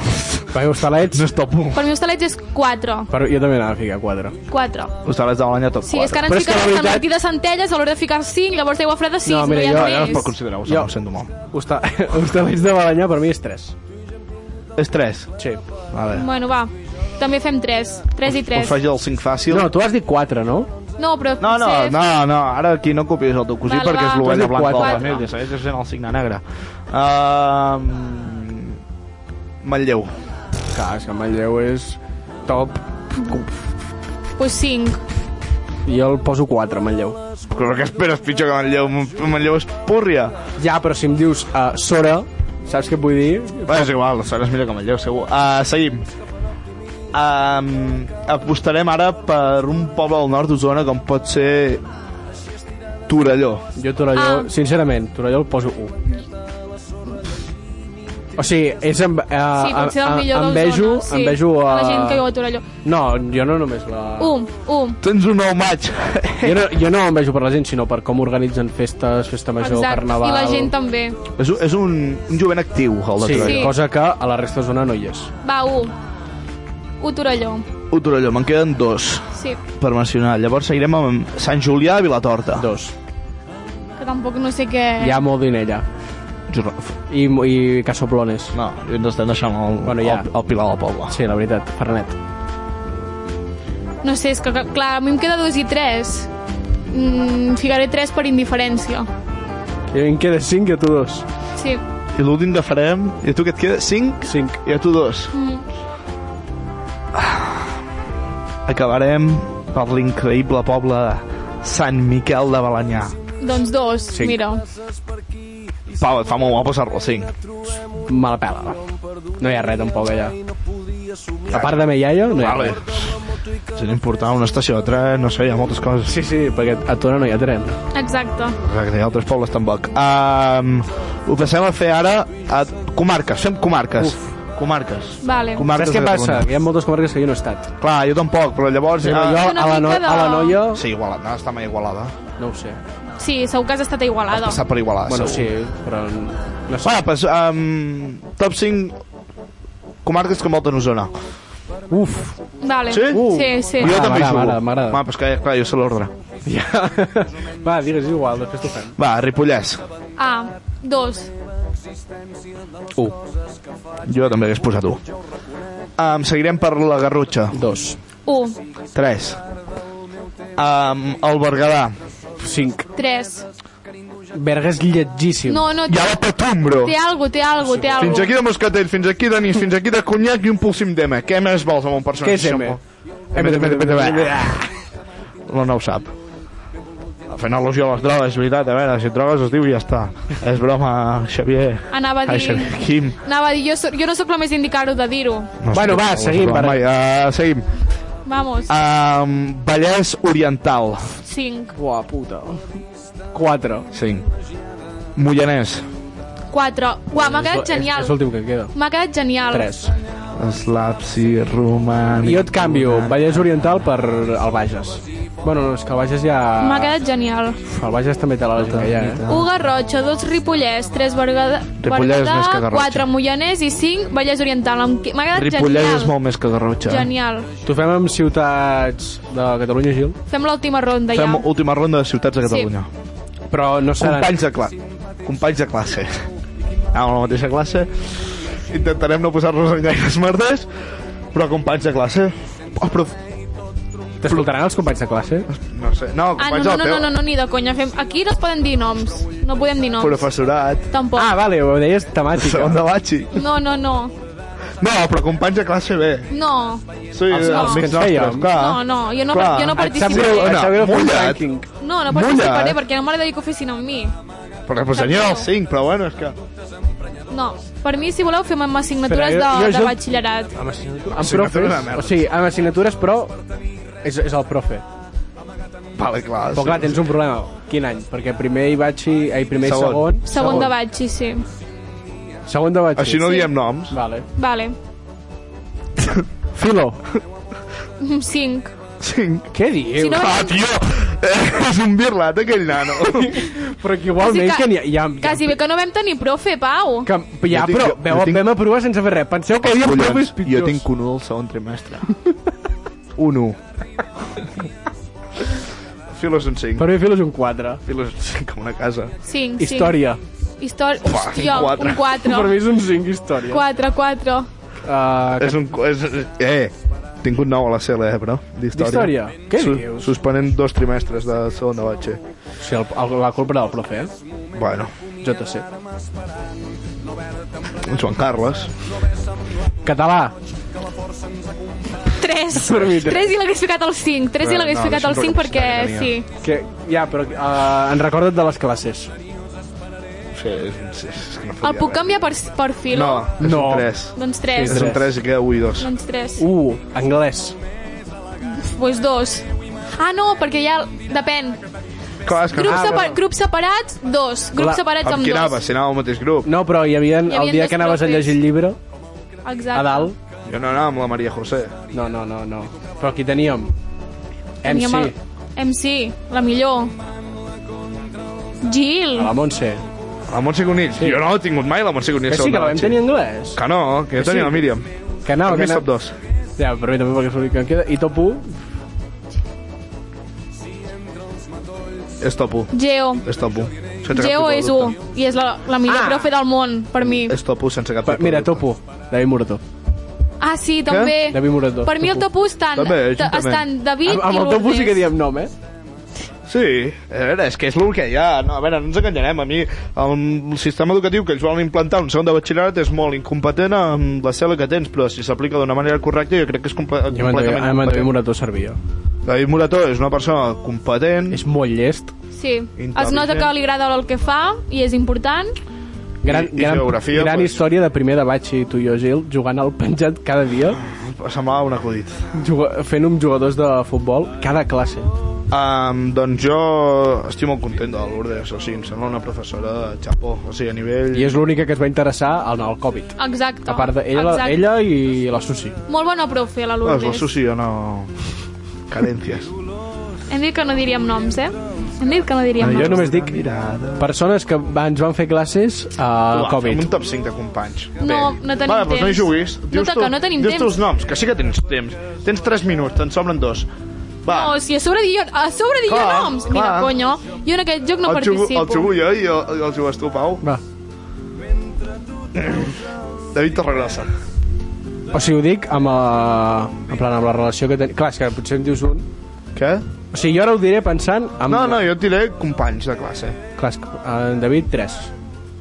Speaker 9: Per mi Hostalets... No és
Speaker 7: top 1.
Speaker 8: Per mi hostalets és 4.
Speaker 9: Però jo també anava a ficar 4.
Speaker 8: 4.
Speaker 7: Hostalets de Balanyà top
Speaker 8: Sí, és que ara ens fiquen Sant veritat... Martí de Centelles, a l'hora de ficar 5, llavors aigua freda 6, no, hi
Speaker 7: Ah,
Speaker 8: ha més.
Speaker 7: considerar-ho,
Speaker 9: jo,
Speaker 7: ho sento molt.
Speaker 9: Hosta, hostalets de Balanyà per mi és 3.
Speaker 7: És 3?
Speaker 9: Sí.
Speaker 7: Vale.
Speaker 8: Bueno, va, també fem 3. 3 i 3.
Speaker 7: Us faig el 5 fàcil.
Speaker 9: No, tu has dit 4, no?
Speaker 8: No, però
Speaker 7: No, no,
Speaker 8: potser-
Speaker 7: no, no, ara aquí no copies el teu cosí
Speaker 8: Vale,
Speaker 7: perquè
Speaker 8: va.
Speaker 7: és l'ovella
Speaker 9: Quatre,
Speaker 7: blanca de la
Speaker 9: quatre.
Speaker 7: família, segueixes sent el signe negre. Uh, Manlleu.
Speaker 9: Clar, és que Manlleu és top.
Speaker 8: Pues 5.
Speaker 9: Jo el poso 4, Manlleu.
Speaker 7: Però què esperes pitjor que Manlleu? Manlleu és púrria.
Speaker 9: Ja, però si em dius uh, Sora, saps què et vull dir?
Speaker 7: Bé, és igual, la Sora és millor que Manlleu, segur. Uh, seguim. Um, apostarem ara per un poble del nord d'Osona com pot ser Torelló.
Speaker 9: Jo Torelló,
Speaker 7: Ah.
Speaker 9: ah. sincerament, Torelló el poso 1. O sigui, és amb... Eh,
Speaker 8: Sí, potser el
Speaker 9: em-
Speaker 8: millor
Speaker 9: em,
Speaker 8: d'Osona,
Speaker 9: vejo,
Speaker 8: sí.
Speaker 9: em vejo a...
Speaker 8: La gent que viu a Torelló.
Speaker 9: No, jo no només la...
Speaker 8: 1, 1.
Speaker 7: Tens un nou maig.
Speaker 9: Jo no, jo no em vejo per la gent, sinó per com organitzen festes, festa major,
Speaker 8: Exacte.
Speaker 9: carnaval...
Speaker 8: I la gent també.
Speaker 7: És, un- és un, un jovent actiu, el de
Speaker 9: Sí,
Speaker 7: Torelló.
Speaker 9: sí, cosa que a la resta de zona no hi és.
Speaker 8: Va, 1. 1 Torelló.
Speaker 7: Un Torelló, me'n queden dos
Speaker 8: Sí,
Speaker 7: per mencionar. Llavors seguirem amb Sant Julià i Vilatorta.
Speaker 9: Dos.
Speaker 8: que tampoc no sé què...
Speaker 9: Hi ha molt d'Inella. I, I Casoplones.
Speaker 7: No, i ens estem deixant el,
Speaker 9: bueno, ja.
Speaker 7: el, el Pilar del Poble.
Speaker 9: Sí, la veritat, Fernet.
Speaker 8: No sé, és que que- clar, a mi em queda 2 i 3. Mm, ficaré 3 per indiferència.
Speaker 9: I em queda cinc i a tu dos.
Speaker 8: Sí.
Speaker 7: I l'últim que farem... I a tu que et queda? 5?
Speaker 9: 5.
Speaker 7: I a tu dos.
Speaker 8: Mm.
Speaker 7: Acabarem per l'increïble poble de Sant Miquel de Balanyà.
Speaker 8: Doncs 2,
Speaker 7: Sí.
Speaker 8: mira.
Speaker 7: Pau, et fa molt guapo ser-lo 5.
Speaker 9: Me la pela. va. No hi ha res, tampoc, allà. A part de Meiaia, no hi ha
Speaker 7: vale. Si no importava una estació de tren, no sé, hi ha moltes coses.
Speaker 9: Sí, sí, perquè a Tona no hi ha tren.
Speaker 8: Exacte.
Speaker 7: Exacte, hi ha altres pobles tampoc. Um, ho passem a fer ara a comarques, fem comarques. Uf. Comarques.
Speaker 8: Vale.
Speaker 9: Saps què passa? Que hi ha moltes comarques que jo no he estat.
Speaker 7: Clar, jo tampoc, però llavors...
Speaker 9: Però jo a la, no,
Speaker 8: mica de-
Speaker 9: a la noia...
Speaker 7: Sí, igual, no, està mai igualada.
Speaker 9: No ho sé.
Speaker 8: Sí, segur que has estat a Igualada.
Speaker 7: Està per igualada,
Speaker 9: Bueno,
Speaker 7: segur.
Speaker 9: sí, però... No
Speaker 7: sé. Bueno, pues, um, top 5 comarques que envolten Osona.
Speaker 9: Uf.
Speaker 8: Vale.
Speaker 7: Sí?
Speaker 8: Uh. Sí, sí.
Speaker 7: Jo
Speaker 9: Ah,
Speaker 7: també
Speaker 9: m'agrada,
Speaker 7: jugo.
Speaker 9: m'agrada, m'agrada.
Speaker 7: Va, pues que, clar, jo sé l'ordre.
Speaker 9: Va, digues igual, després t'ho fem.
Speaker 7: Va, Ripollès.
Speaker 8: A, 2.
Speaker 9: 1.
Speaker 7: Jo també hagués posat 1. Um, seguirem per la Garrotxa.
Speaker 9: 2.
Speaker 8: 1,
Speaker 7: 3. Um, el Berguedà.
Speaker 9: 5.
Speaker 8: 3.
Speaker 9: Berga és lletgíssim.
Speaker 8: No, no,
Speaker 7: I a la Patumbro.
Speaker 8: té algo, té algo, té algo.
Speaker 7: Fins aquí de moscatell, fins aquí de nis, fins aquí de conyac i un pulsim d'ema. Què més vols amb un personatge?
Speaker 9: Què és M?
Speaker 7: M, M, M, M, No, no ho sap. Fent al·lusió a les drogues, és veritat. A veure, si et drogues es diu i ja està. És broma, Xavier.
Speaker 8: Anava a dir-
Speaker 7: Ai, Xavier, Quim.
Speaker 8: Anava a dir, jo, so- jo no sóc la més indicar-ho de dir-ho.
Speaker 7: No
Speaker 9: Bueno,
Speaker 7: sé,
Speaker 9: va,
Speaker 7: no ho sé,
Speaker 9: seguim,
Speaker 7: però
Speaker 9: per-
Speaker 7: Mai, uh, seguim.
Speaker 8: Vamos,
Speaker 7: Um, Vallès Oriental.
Speaker 8: 5,
Speaker 9: Ua, puta. 4.
Speaker 7: 5. Mollanès.
Speaker 8: 4. Uah, m'ha quedat genial.
Speaker 9: que queda.
Speaker 8: M'ha quedat genial.
Speaker 9: 3.
Speaker 7: Slapsi, Roman...
Speaker 9: Jo et canvio Vallès Oriental per el Bages. Bueno, no, és que el Bages ja...
Speaker 8: M'ha quedat genial.
Speaker 9: Uf, El Bages també té la
Speaker 7: Tota
Speaker 9: lògica ja, eh?
Speaker 8: 1 Garrotxa, 2 Ripollès, 3 Berguedà,
Speaker 7: Ah. Ripollès és més que Garrotxa.
Speaker 8: 4 Mollanès i 5 Vallès Oriental. Em que- M'ha quedat
Speaker 7: Ripollès
Speaker 8: Ah, genial.
Speaker 7: és molt més que Garrotxa. eh?
Speaker 8: Genial.
Speaker 9: T'ho fem amb ciutats de Catalunya, Gil?
Speaker 8: Fem l'última ronda
Speaker 7: Fem
Speaker 8: ja.
Speaker 7: última ronda de ciutats de
Speaker 8: Sí.
Speaker 7: Catalunya.
Speaker 9: Però no seran...
Speaker 7: Companys de, cla companys de classe. Anàvem a la mateixa classe. Intentarem no posar-nos en gaires merdes, però companys de classe. Oh, però...
Speaker 9: T'escoltaran els companys de classe?
Speaker 7: No sé. No,
Speaker 8: Ah, no,
Speaker 7: companys
Speaker 8: no,
Speaker 7: del
Speaker 8: no,
Speaker 7: teu.
Speaker 8: no, no, no, ni de conya. Fem... Aquí no es poden dir noms. No podem dir noms.
Speaker 7: Professorat.
Speaker 8: Tampoc.
Speaker 9: Ah, vale, ho deies temàtica.
Speaker 7: Segon de batxi.
Speaker 8: No, no, no.
Speaker 7: No, però companys de classe B.
Speaker 8: No.
Speaker 7: Sí, els,
Speaker 8: no.
Speaker 7: els amics nostres, clar.
Speaker 8: No, no, jo no, jo no participaré.
Speaker 7: Mullat.
Speaker 8: No,
Speaker 9: eh?
Speaker 7: Mullat.
Speaker 8: no participaré perquè no m'agrada que ho fessin amb mi.
Speaker 7: Però, però senyor, els 5, però bueno, és que...
Speaker 8: No, per mi, si voleu, fem amb assignatures
Speaker 9: Espera, jo-
Speaker 8: de,
Speaker 9: jo- Ah,
Speaker 8: de
Speaker 9: jo-
Speaker 8: batxillerat.
Speaker 9: Amb assignatures, amb
Speaker 7: Assignatura
Speaker 9: profes,
Speaker 7: de merda.
Speaker 9: o sigui, amb assignatures, però és, és el profe.
Speaker 7: Vale, clar.
Speaker 9: Però clar,
Speaker 7: sí,
Speaker 9: tens
Speaker 7: sí.
Speaker 9: un problema. Quin any? Perquè primer hi vaig... Ai, primer i
Speaker 7: Segon.
Speaker 9: segon.
Speaker 8: Segon de batxi, sí.
Speaker 9: Segon de batxi.
Speaker 7: Així no diem noms.
Speaker 9: Vale.
Speaker 8: Vale.
Speaker 9: Filo.
Speaker 8: Cinc.
Speaker 7: 5.
Speaker 9: Què dius?
Speaker 8: Si no- eh,
Speaker 7: Ah, tio! eh, és un birlat, aquell nano.
Speaker 9: però que igualment
Speaker 8: O sigui
Speaker 9: que n'hi ha... Hi ha,
Speaker 8: Quasi bé que no vam tenir profe, Pau.
Speaker 9: que, ja,
Speaker 7: Jo tinc-
Speaker 9: però
Speaker 7: jo-
Speaker 9: veu,
Speaker 7: jo tinc-
Speaker 9: vam aprovar sense fer res. Penseu que hi havia
Speaker 7: Collons,
Speaker 9: profes
Speaker 7: jo
Speaker 9: pitjors.
Speaker 7: tinc un 1 del segon trimestre. un 1. Filo és un 5.
Speaker 9: Per mi Filo és un 4.
Speaker 7: Filo és un 5, com una casa.
Speaker 8: Cinc,
Speaker 9: Història.
Speaker 8: Cinc. Història.
Speaker 7: Uah,
Speaker 8: Hòstia,
Speaker 7: un quatre.
Speaker 8: un 4.
Speaker 7: Per mi
Speaker 9: és un 5, història.
Speaker 8: 4, 4.
Speaker 9: Uh,
Speaker 7: és un... És, eh, tinc un 9 a la CL, eh, però, d'història.
Speaker 9: D'història? Què
Speaker 7: Su-
Speaker 9: dius?
Speaker 7: Suspenent dos trimestres de segon de batxe.
Speaker 9: O sigui, el, el, la culpa era del profe, eh?
Speaker 7: Bueno,
Speaker 9: Jo te sé.
Speaker 7: en Joan Carles.
Speaker 9: Català.
Speaker 8: 3.
Speaker 9: Per mi, tres.
Speaker 8: 3 i l'hagués ficat al 5. 3 i
Speaker 9: Però
Speaker 8: l'hagués
Speaker 9: no,
Speaker 8: ficat
Speaker 9: deixa'm
Speaker 8: al 5 perquè
Speaker 9: recapcitar que
Speaker 8: sí.
Speaker 9: tenia. Que, ja, però uh, en recorda't de les classes.
Speaker 7: Sí, és, és que no
Speaker 8: El puc canviar per, per filo?
Speaker 7: No, és
Speaker 9: No.
Speaker 7: un 3.
Speaker 8: Doncs tres.
Speaker 7: És un 3 i queda 1 i 2.
Speaker 8: Doncs 3.
Speaker 9: Uh, anglès.
Speaker 8: Doncs pues 2. Ah, no, perquè ja... Depèn.
Speaker 7: Clar, és que...
Speaker 8: Grups, separ grups separats, 2. Grups separats
Speaker 7: amb
Speaker 8: Doncs amb
Speaker 7: qui anava?
Speaker 8: 2.
Speaker 7: Si anava al mateix grup.
Speaker 9: No, però hi havia,
Speaker 8: Hi havia
Speaker 9: el dia
Speaker 8: dos
Speaker 9: que anaves
Speaker 8: profes.
Speaker 9: a llegir el llibre,
Speaker 8: Exacte.
Speaker 9: a dalt...
Speaker 7: Jo no anava amb la Maria José.
Speaker 9: No, no, no, no. Però aquí teníem...
Speaker 8: Teníem
Speaker 9: MC,
Speaker 8: el- MC, la millor. Gil.
Speaker 9: a la Montse.
Speaker 7: La Montse Conill. Sí. Jo no l'he tingut mai, la Montse Conill.
Speaker 9: Que sí,
Speaker 7: segona
Speaker 9: que la vam
Speaker 7: batxi.
Speaker 9: tenir anglès.
Speaker 7: Que no, que jo
Speaker 9: Que
Speaker 7: tenia
Speaker 9: sí.
Speaker 7: la Míriam.
Speaker 9: Que no,
Speaker 7: També
Speaker 9: que no.
Speaker 7: sap dos.
Speaker 9: Ja, per mi també perquè sóc l'únic que em queda. I top 1,
Speaker 7: És top 1.
Speaker 8: Geo.
Speaker 7: És top 1. Sense cap
Speaker 8: Geo
Speaker 7: tipus de
Speaker 8: és
Speaker 7: dubte.
Speaker 8: 1 i és la, la millor
Speaker 7: Ah.
Speaker 8: profe del món, per mi.
Speaker 7: És top 1 sense cap
Speaker 9: Pa-
Speaker 7: tipus de
Speaker 9: mira,
Speaker 7: dubte.
Speaker 9: topo. David Morató.
Speaker 8: Ah, sí, també.
Speaker 9: David Morató.
Speaker 8: Per mi el top 1 estan,
Speaker 7: També,
Speaker 8: ta-
Speaker 7: juntament.
Speaker 8: estan David
Speaker 9: Amb, amb
Speaker 8: i
Speaker 9: el topo sí
Speaker 8: Lourdes.
Speaker 9: que diem nom, eh?
Speaker 7: Sí, a veure, és que és el que hi ha. No, a veure, no ens enganyarem. A mi el sistema educatiu que ells volen implantar un segon de batxillerat és molt incompetent amb la cel·la que tens, però si s'aplica d'una manera correcta jo crec que és comple
Speaker 9: Jo amb en David-
Speaker 7: completament
Speaker 9: amb en David
Speaker 7: incompetent.
Speaker 9: Morató servia.
Speaker 7: David Morató és una persona competent.
Speaker 9: És molt llest.
Speaker 8: Sí, es nota que li agrada el que fa i és important.
Speaker 9: Gran,
Speaker 7: I- i
Speaker 9: gran,
Speaker 7: geografia,
Speaker 9: gran
Speaker 7: pues.
Speaker 9: història de primer de Batxi, tu i jo, Gil, jugant al penjat cada dia,
Speaker 7: Semblava un acudit.
Speaker 9: juga, fent amb jugadors de futbol cada classe.
Speaker 7: Um, doncs jo estic molt content de la Lourdes, o sigui, em sembla una professora de xapó, o sigui, a nivell...
Speaker 9: I és l'única que es va interessar en el Covid.
Speaker 8: Exacte.
Speaker 9: A part d'ella
Speaker 8: Exacte.
Speaker 9: ella i la Susi.
Speaker 8: Molt bona profe, la
Speaker 7: No, és
Speaker 8: Lourdes.
Speaker 7: la Susi, jo no... Cadències.
Speaker 8: Hem dit que no diríem noms, eh? Hem dit que no
Speaker 7: Ah,
Speaker 8: diríem
Speaker 9: Bueno,
Speaker 8: noms.
Speaker 9: jo només dic persones que va- ens van fer classes al
Speaker 7: Uah, fem
Speaker 9: Covid.
Speaker 7: un top 5 de companys.
Speaker 8: No, no tenim
Speaker 7: vale, doncs no hi
Speaker 8: temps.
Speaker 7: juguis.
Speaker 8: No
Speaker 7: Dius
Speaker 8: toca,
Speaker 7: tu,
Speaker 8: no tenim
Speaker 7: dius
Speaker 8: temps.
Speaker 7: tu els noms, que sí que tens temps. Tens 3 minuts, te'n sobren dos. Va,
Speaker 8: No, si a sobre dic jo, a sobre dic jo
Speaker 7: Clar,
Speaker 8: noms.
Speaker 7: clar.
Speaker 8: Mira, conyo, jo en aquest joc no
Speaker 7: el, jugo,
Speaker 8: participo.
Speaker 7: el jugo jo i el, i el jugues tu, Pau.
Speaker 9: Va.
Speaker 7: David Torregrossa.
Speaker 9: O sigui, ho dic amb, la, en plan, amb la relació que tenim. Clar, és que potser em dius un...
Speaker 7: Què?
Speaker 9: O sigui, jo ara ho diré pensant... Amb...
Speaker 7: No, no, jo et diré companys de classe.
Speaker 9: Clar, és que, en David, 3.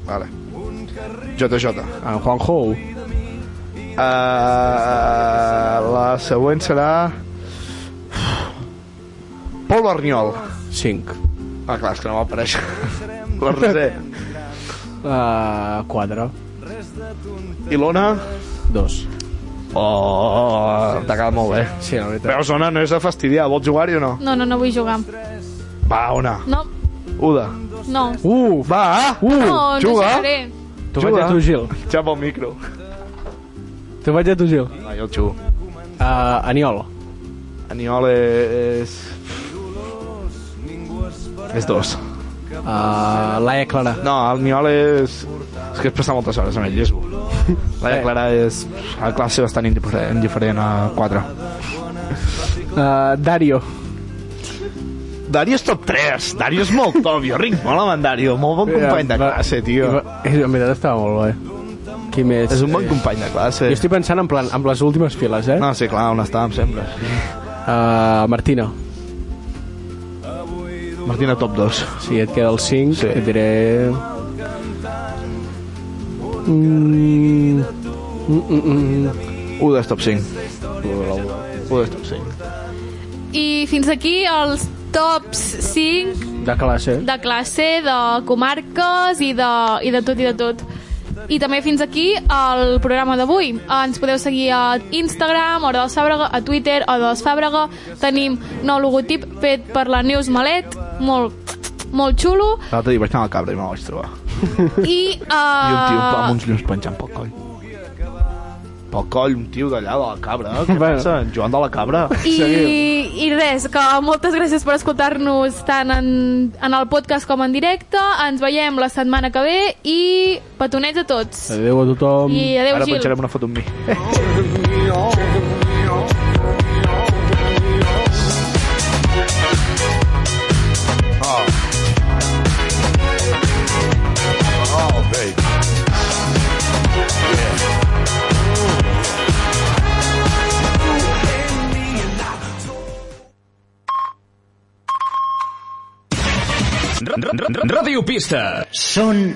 Speaker 7: Vale. JJ.
Speaker 9: En Juanjo, u.
Speaker 7: Uh, la següent serà... Pol Arniol.
Speaker 9: 5.
Speaker 7: Ah, clar, és que no va aparèixer. La Roser.
Speaker 9: Uh, 4.
Speaker 7: Ilona.
Speaker 9: 2.
Speaker 7: Oh, t'ha quedat molt bé.
Speaker 9: Sí, la veritat.
Speaker 7: Veus, Ona, no és de fastidiar. Vols jugar-hi o no?
Speaker 8: No, no, no vull jugar.
Speaker 7: Va, Ona.
Speaker 8: No,
Speaker 7: Uda.
Speaker 8: no.
Speaker 9: Uh,
Speaker 7: va, uh,
Speaker 8: no, no
Speaker 7: Mm, juga.
Speaker 8: jugaré.
Speaker 9: Tu vaig a tu, Gil.
Speaker 7: Xapa el micro.
Speaker 9: Tu vaig a tu, Gil.
Speaker 7: No, jo el xugo.
Speaker 9: Uh, Aniol.
Speaker 7: Aniol és... És dos.
Speaker 9: Uh, Laia Clara.
Speaker 7: No, el Niol és... És que es passa moltes hores amb ell, és bo. Laia Clara és a classe bastant indiferent, indiferent a 4.
Speaker 9: Uh, Dario.
Speaker 7: Dari és top 3. Dari és molt top. Jo rinc molt amb en Dario. Molt bon company
Speaker 9: Eh,
Speaker 7: de classe, tio.
Speaker 9: És, eh, en veritat estava molt bé. Qui més?
Speaker 7: És un bon company de classe.
Speaker 9: Jo estic pensant en plan, amb les últimes files, eh?
Speaker 7: No, sí, clar, on estàvem sempre.
Speaker 9: Uh, Martina.
Speaker 7: Martina, top 2.
Speaker 9: Si et queda el 5, sí. et diré... Mm,
Speaker 7: 1 dels top 5. 1 dels top 5.
Speaker 8: I fins aquí els tops 5
Speaker 9: De classe.
Speaker 8: de classe, de comarques i de, i de tot i de tot. I també fins aquí el programa d'avui. Ens podeu seguir a Instagram, Hora dels Fàbrega, a Twitter, Hora dels Fàbrega. Tenim nou logotip fet per la Neus Malet, molt, molt xulo.
Speaker 7: L'altre dia vaig anar al cabra i me la vaig trobar.
Speaker 8: I, uh,
Speaker 7: I un tio amb uns llums penjant pel coll. Pel coll, un tio d'allà de la cabra. Què passa? En Joan de la cabra.
Speaker 8: eh, I, I res, que moltes gràcies per escoltar-nos tant en, en el podcast com en directe. Ens veiem la setmana que ve i petonets a tots.
Speaker 9: Adéu a tothom.
Speaker 8: I adéu,
Speaker 7: Ara
Speaker 8: Gil.
Speaker 7: penjarem una foto amb mi.
Speaker 16: Oh. Oh, baby.
Speaker 17: Ràdio Pista. Són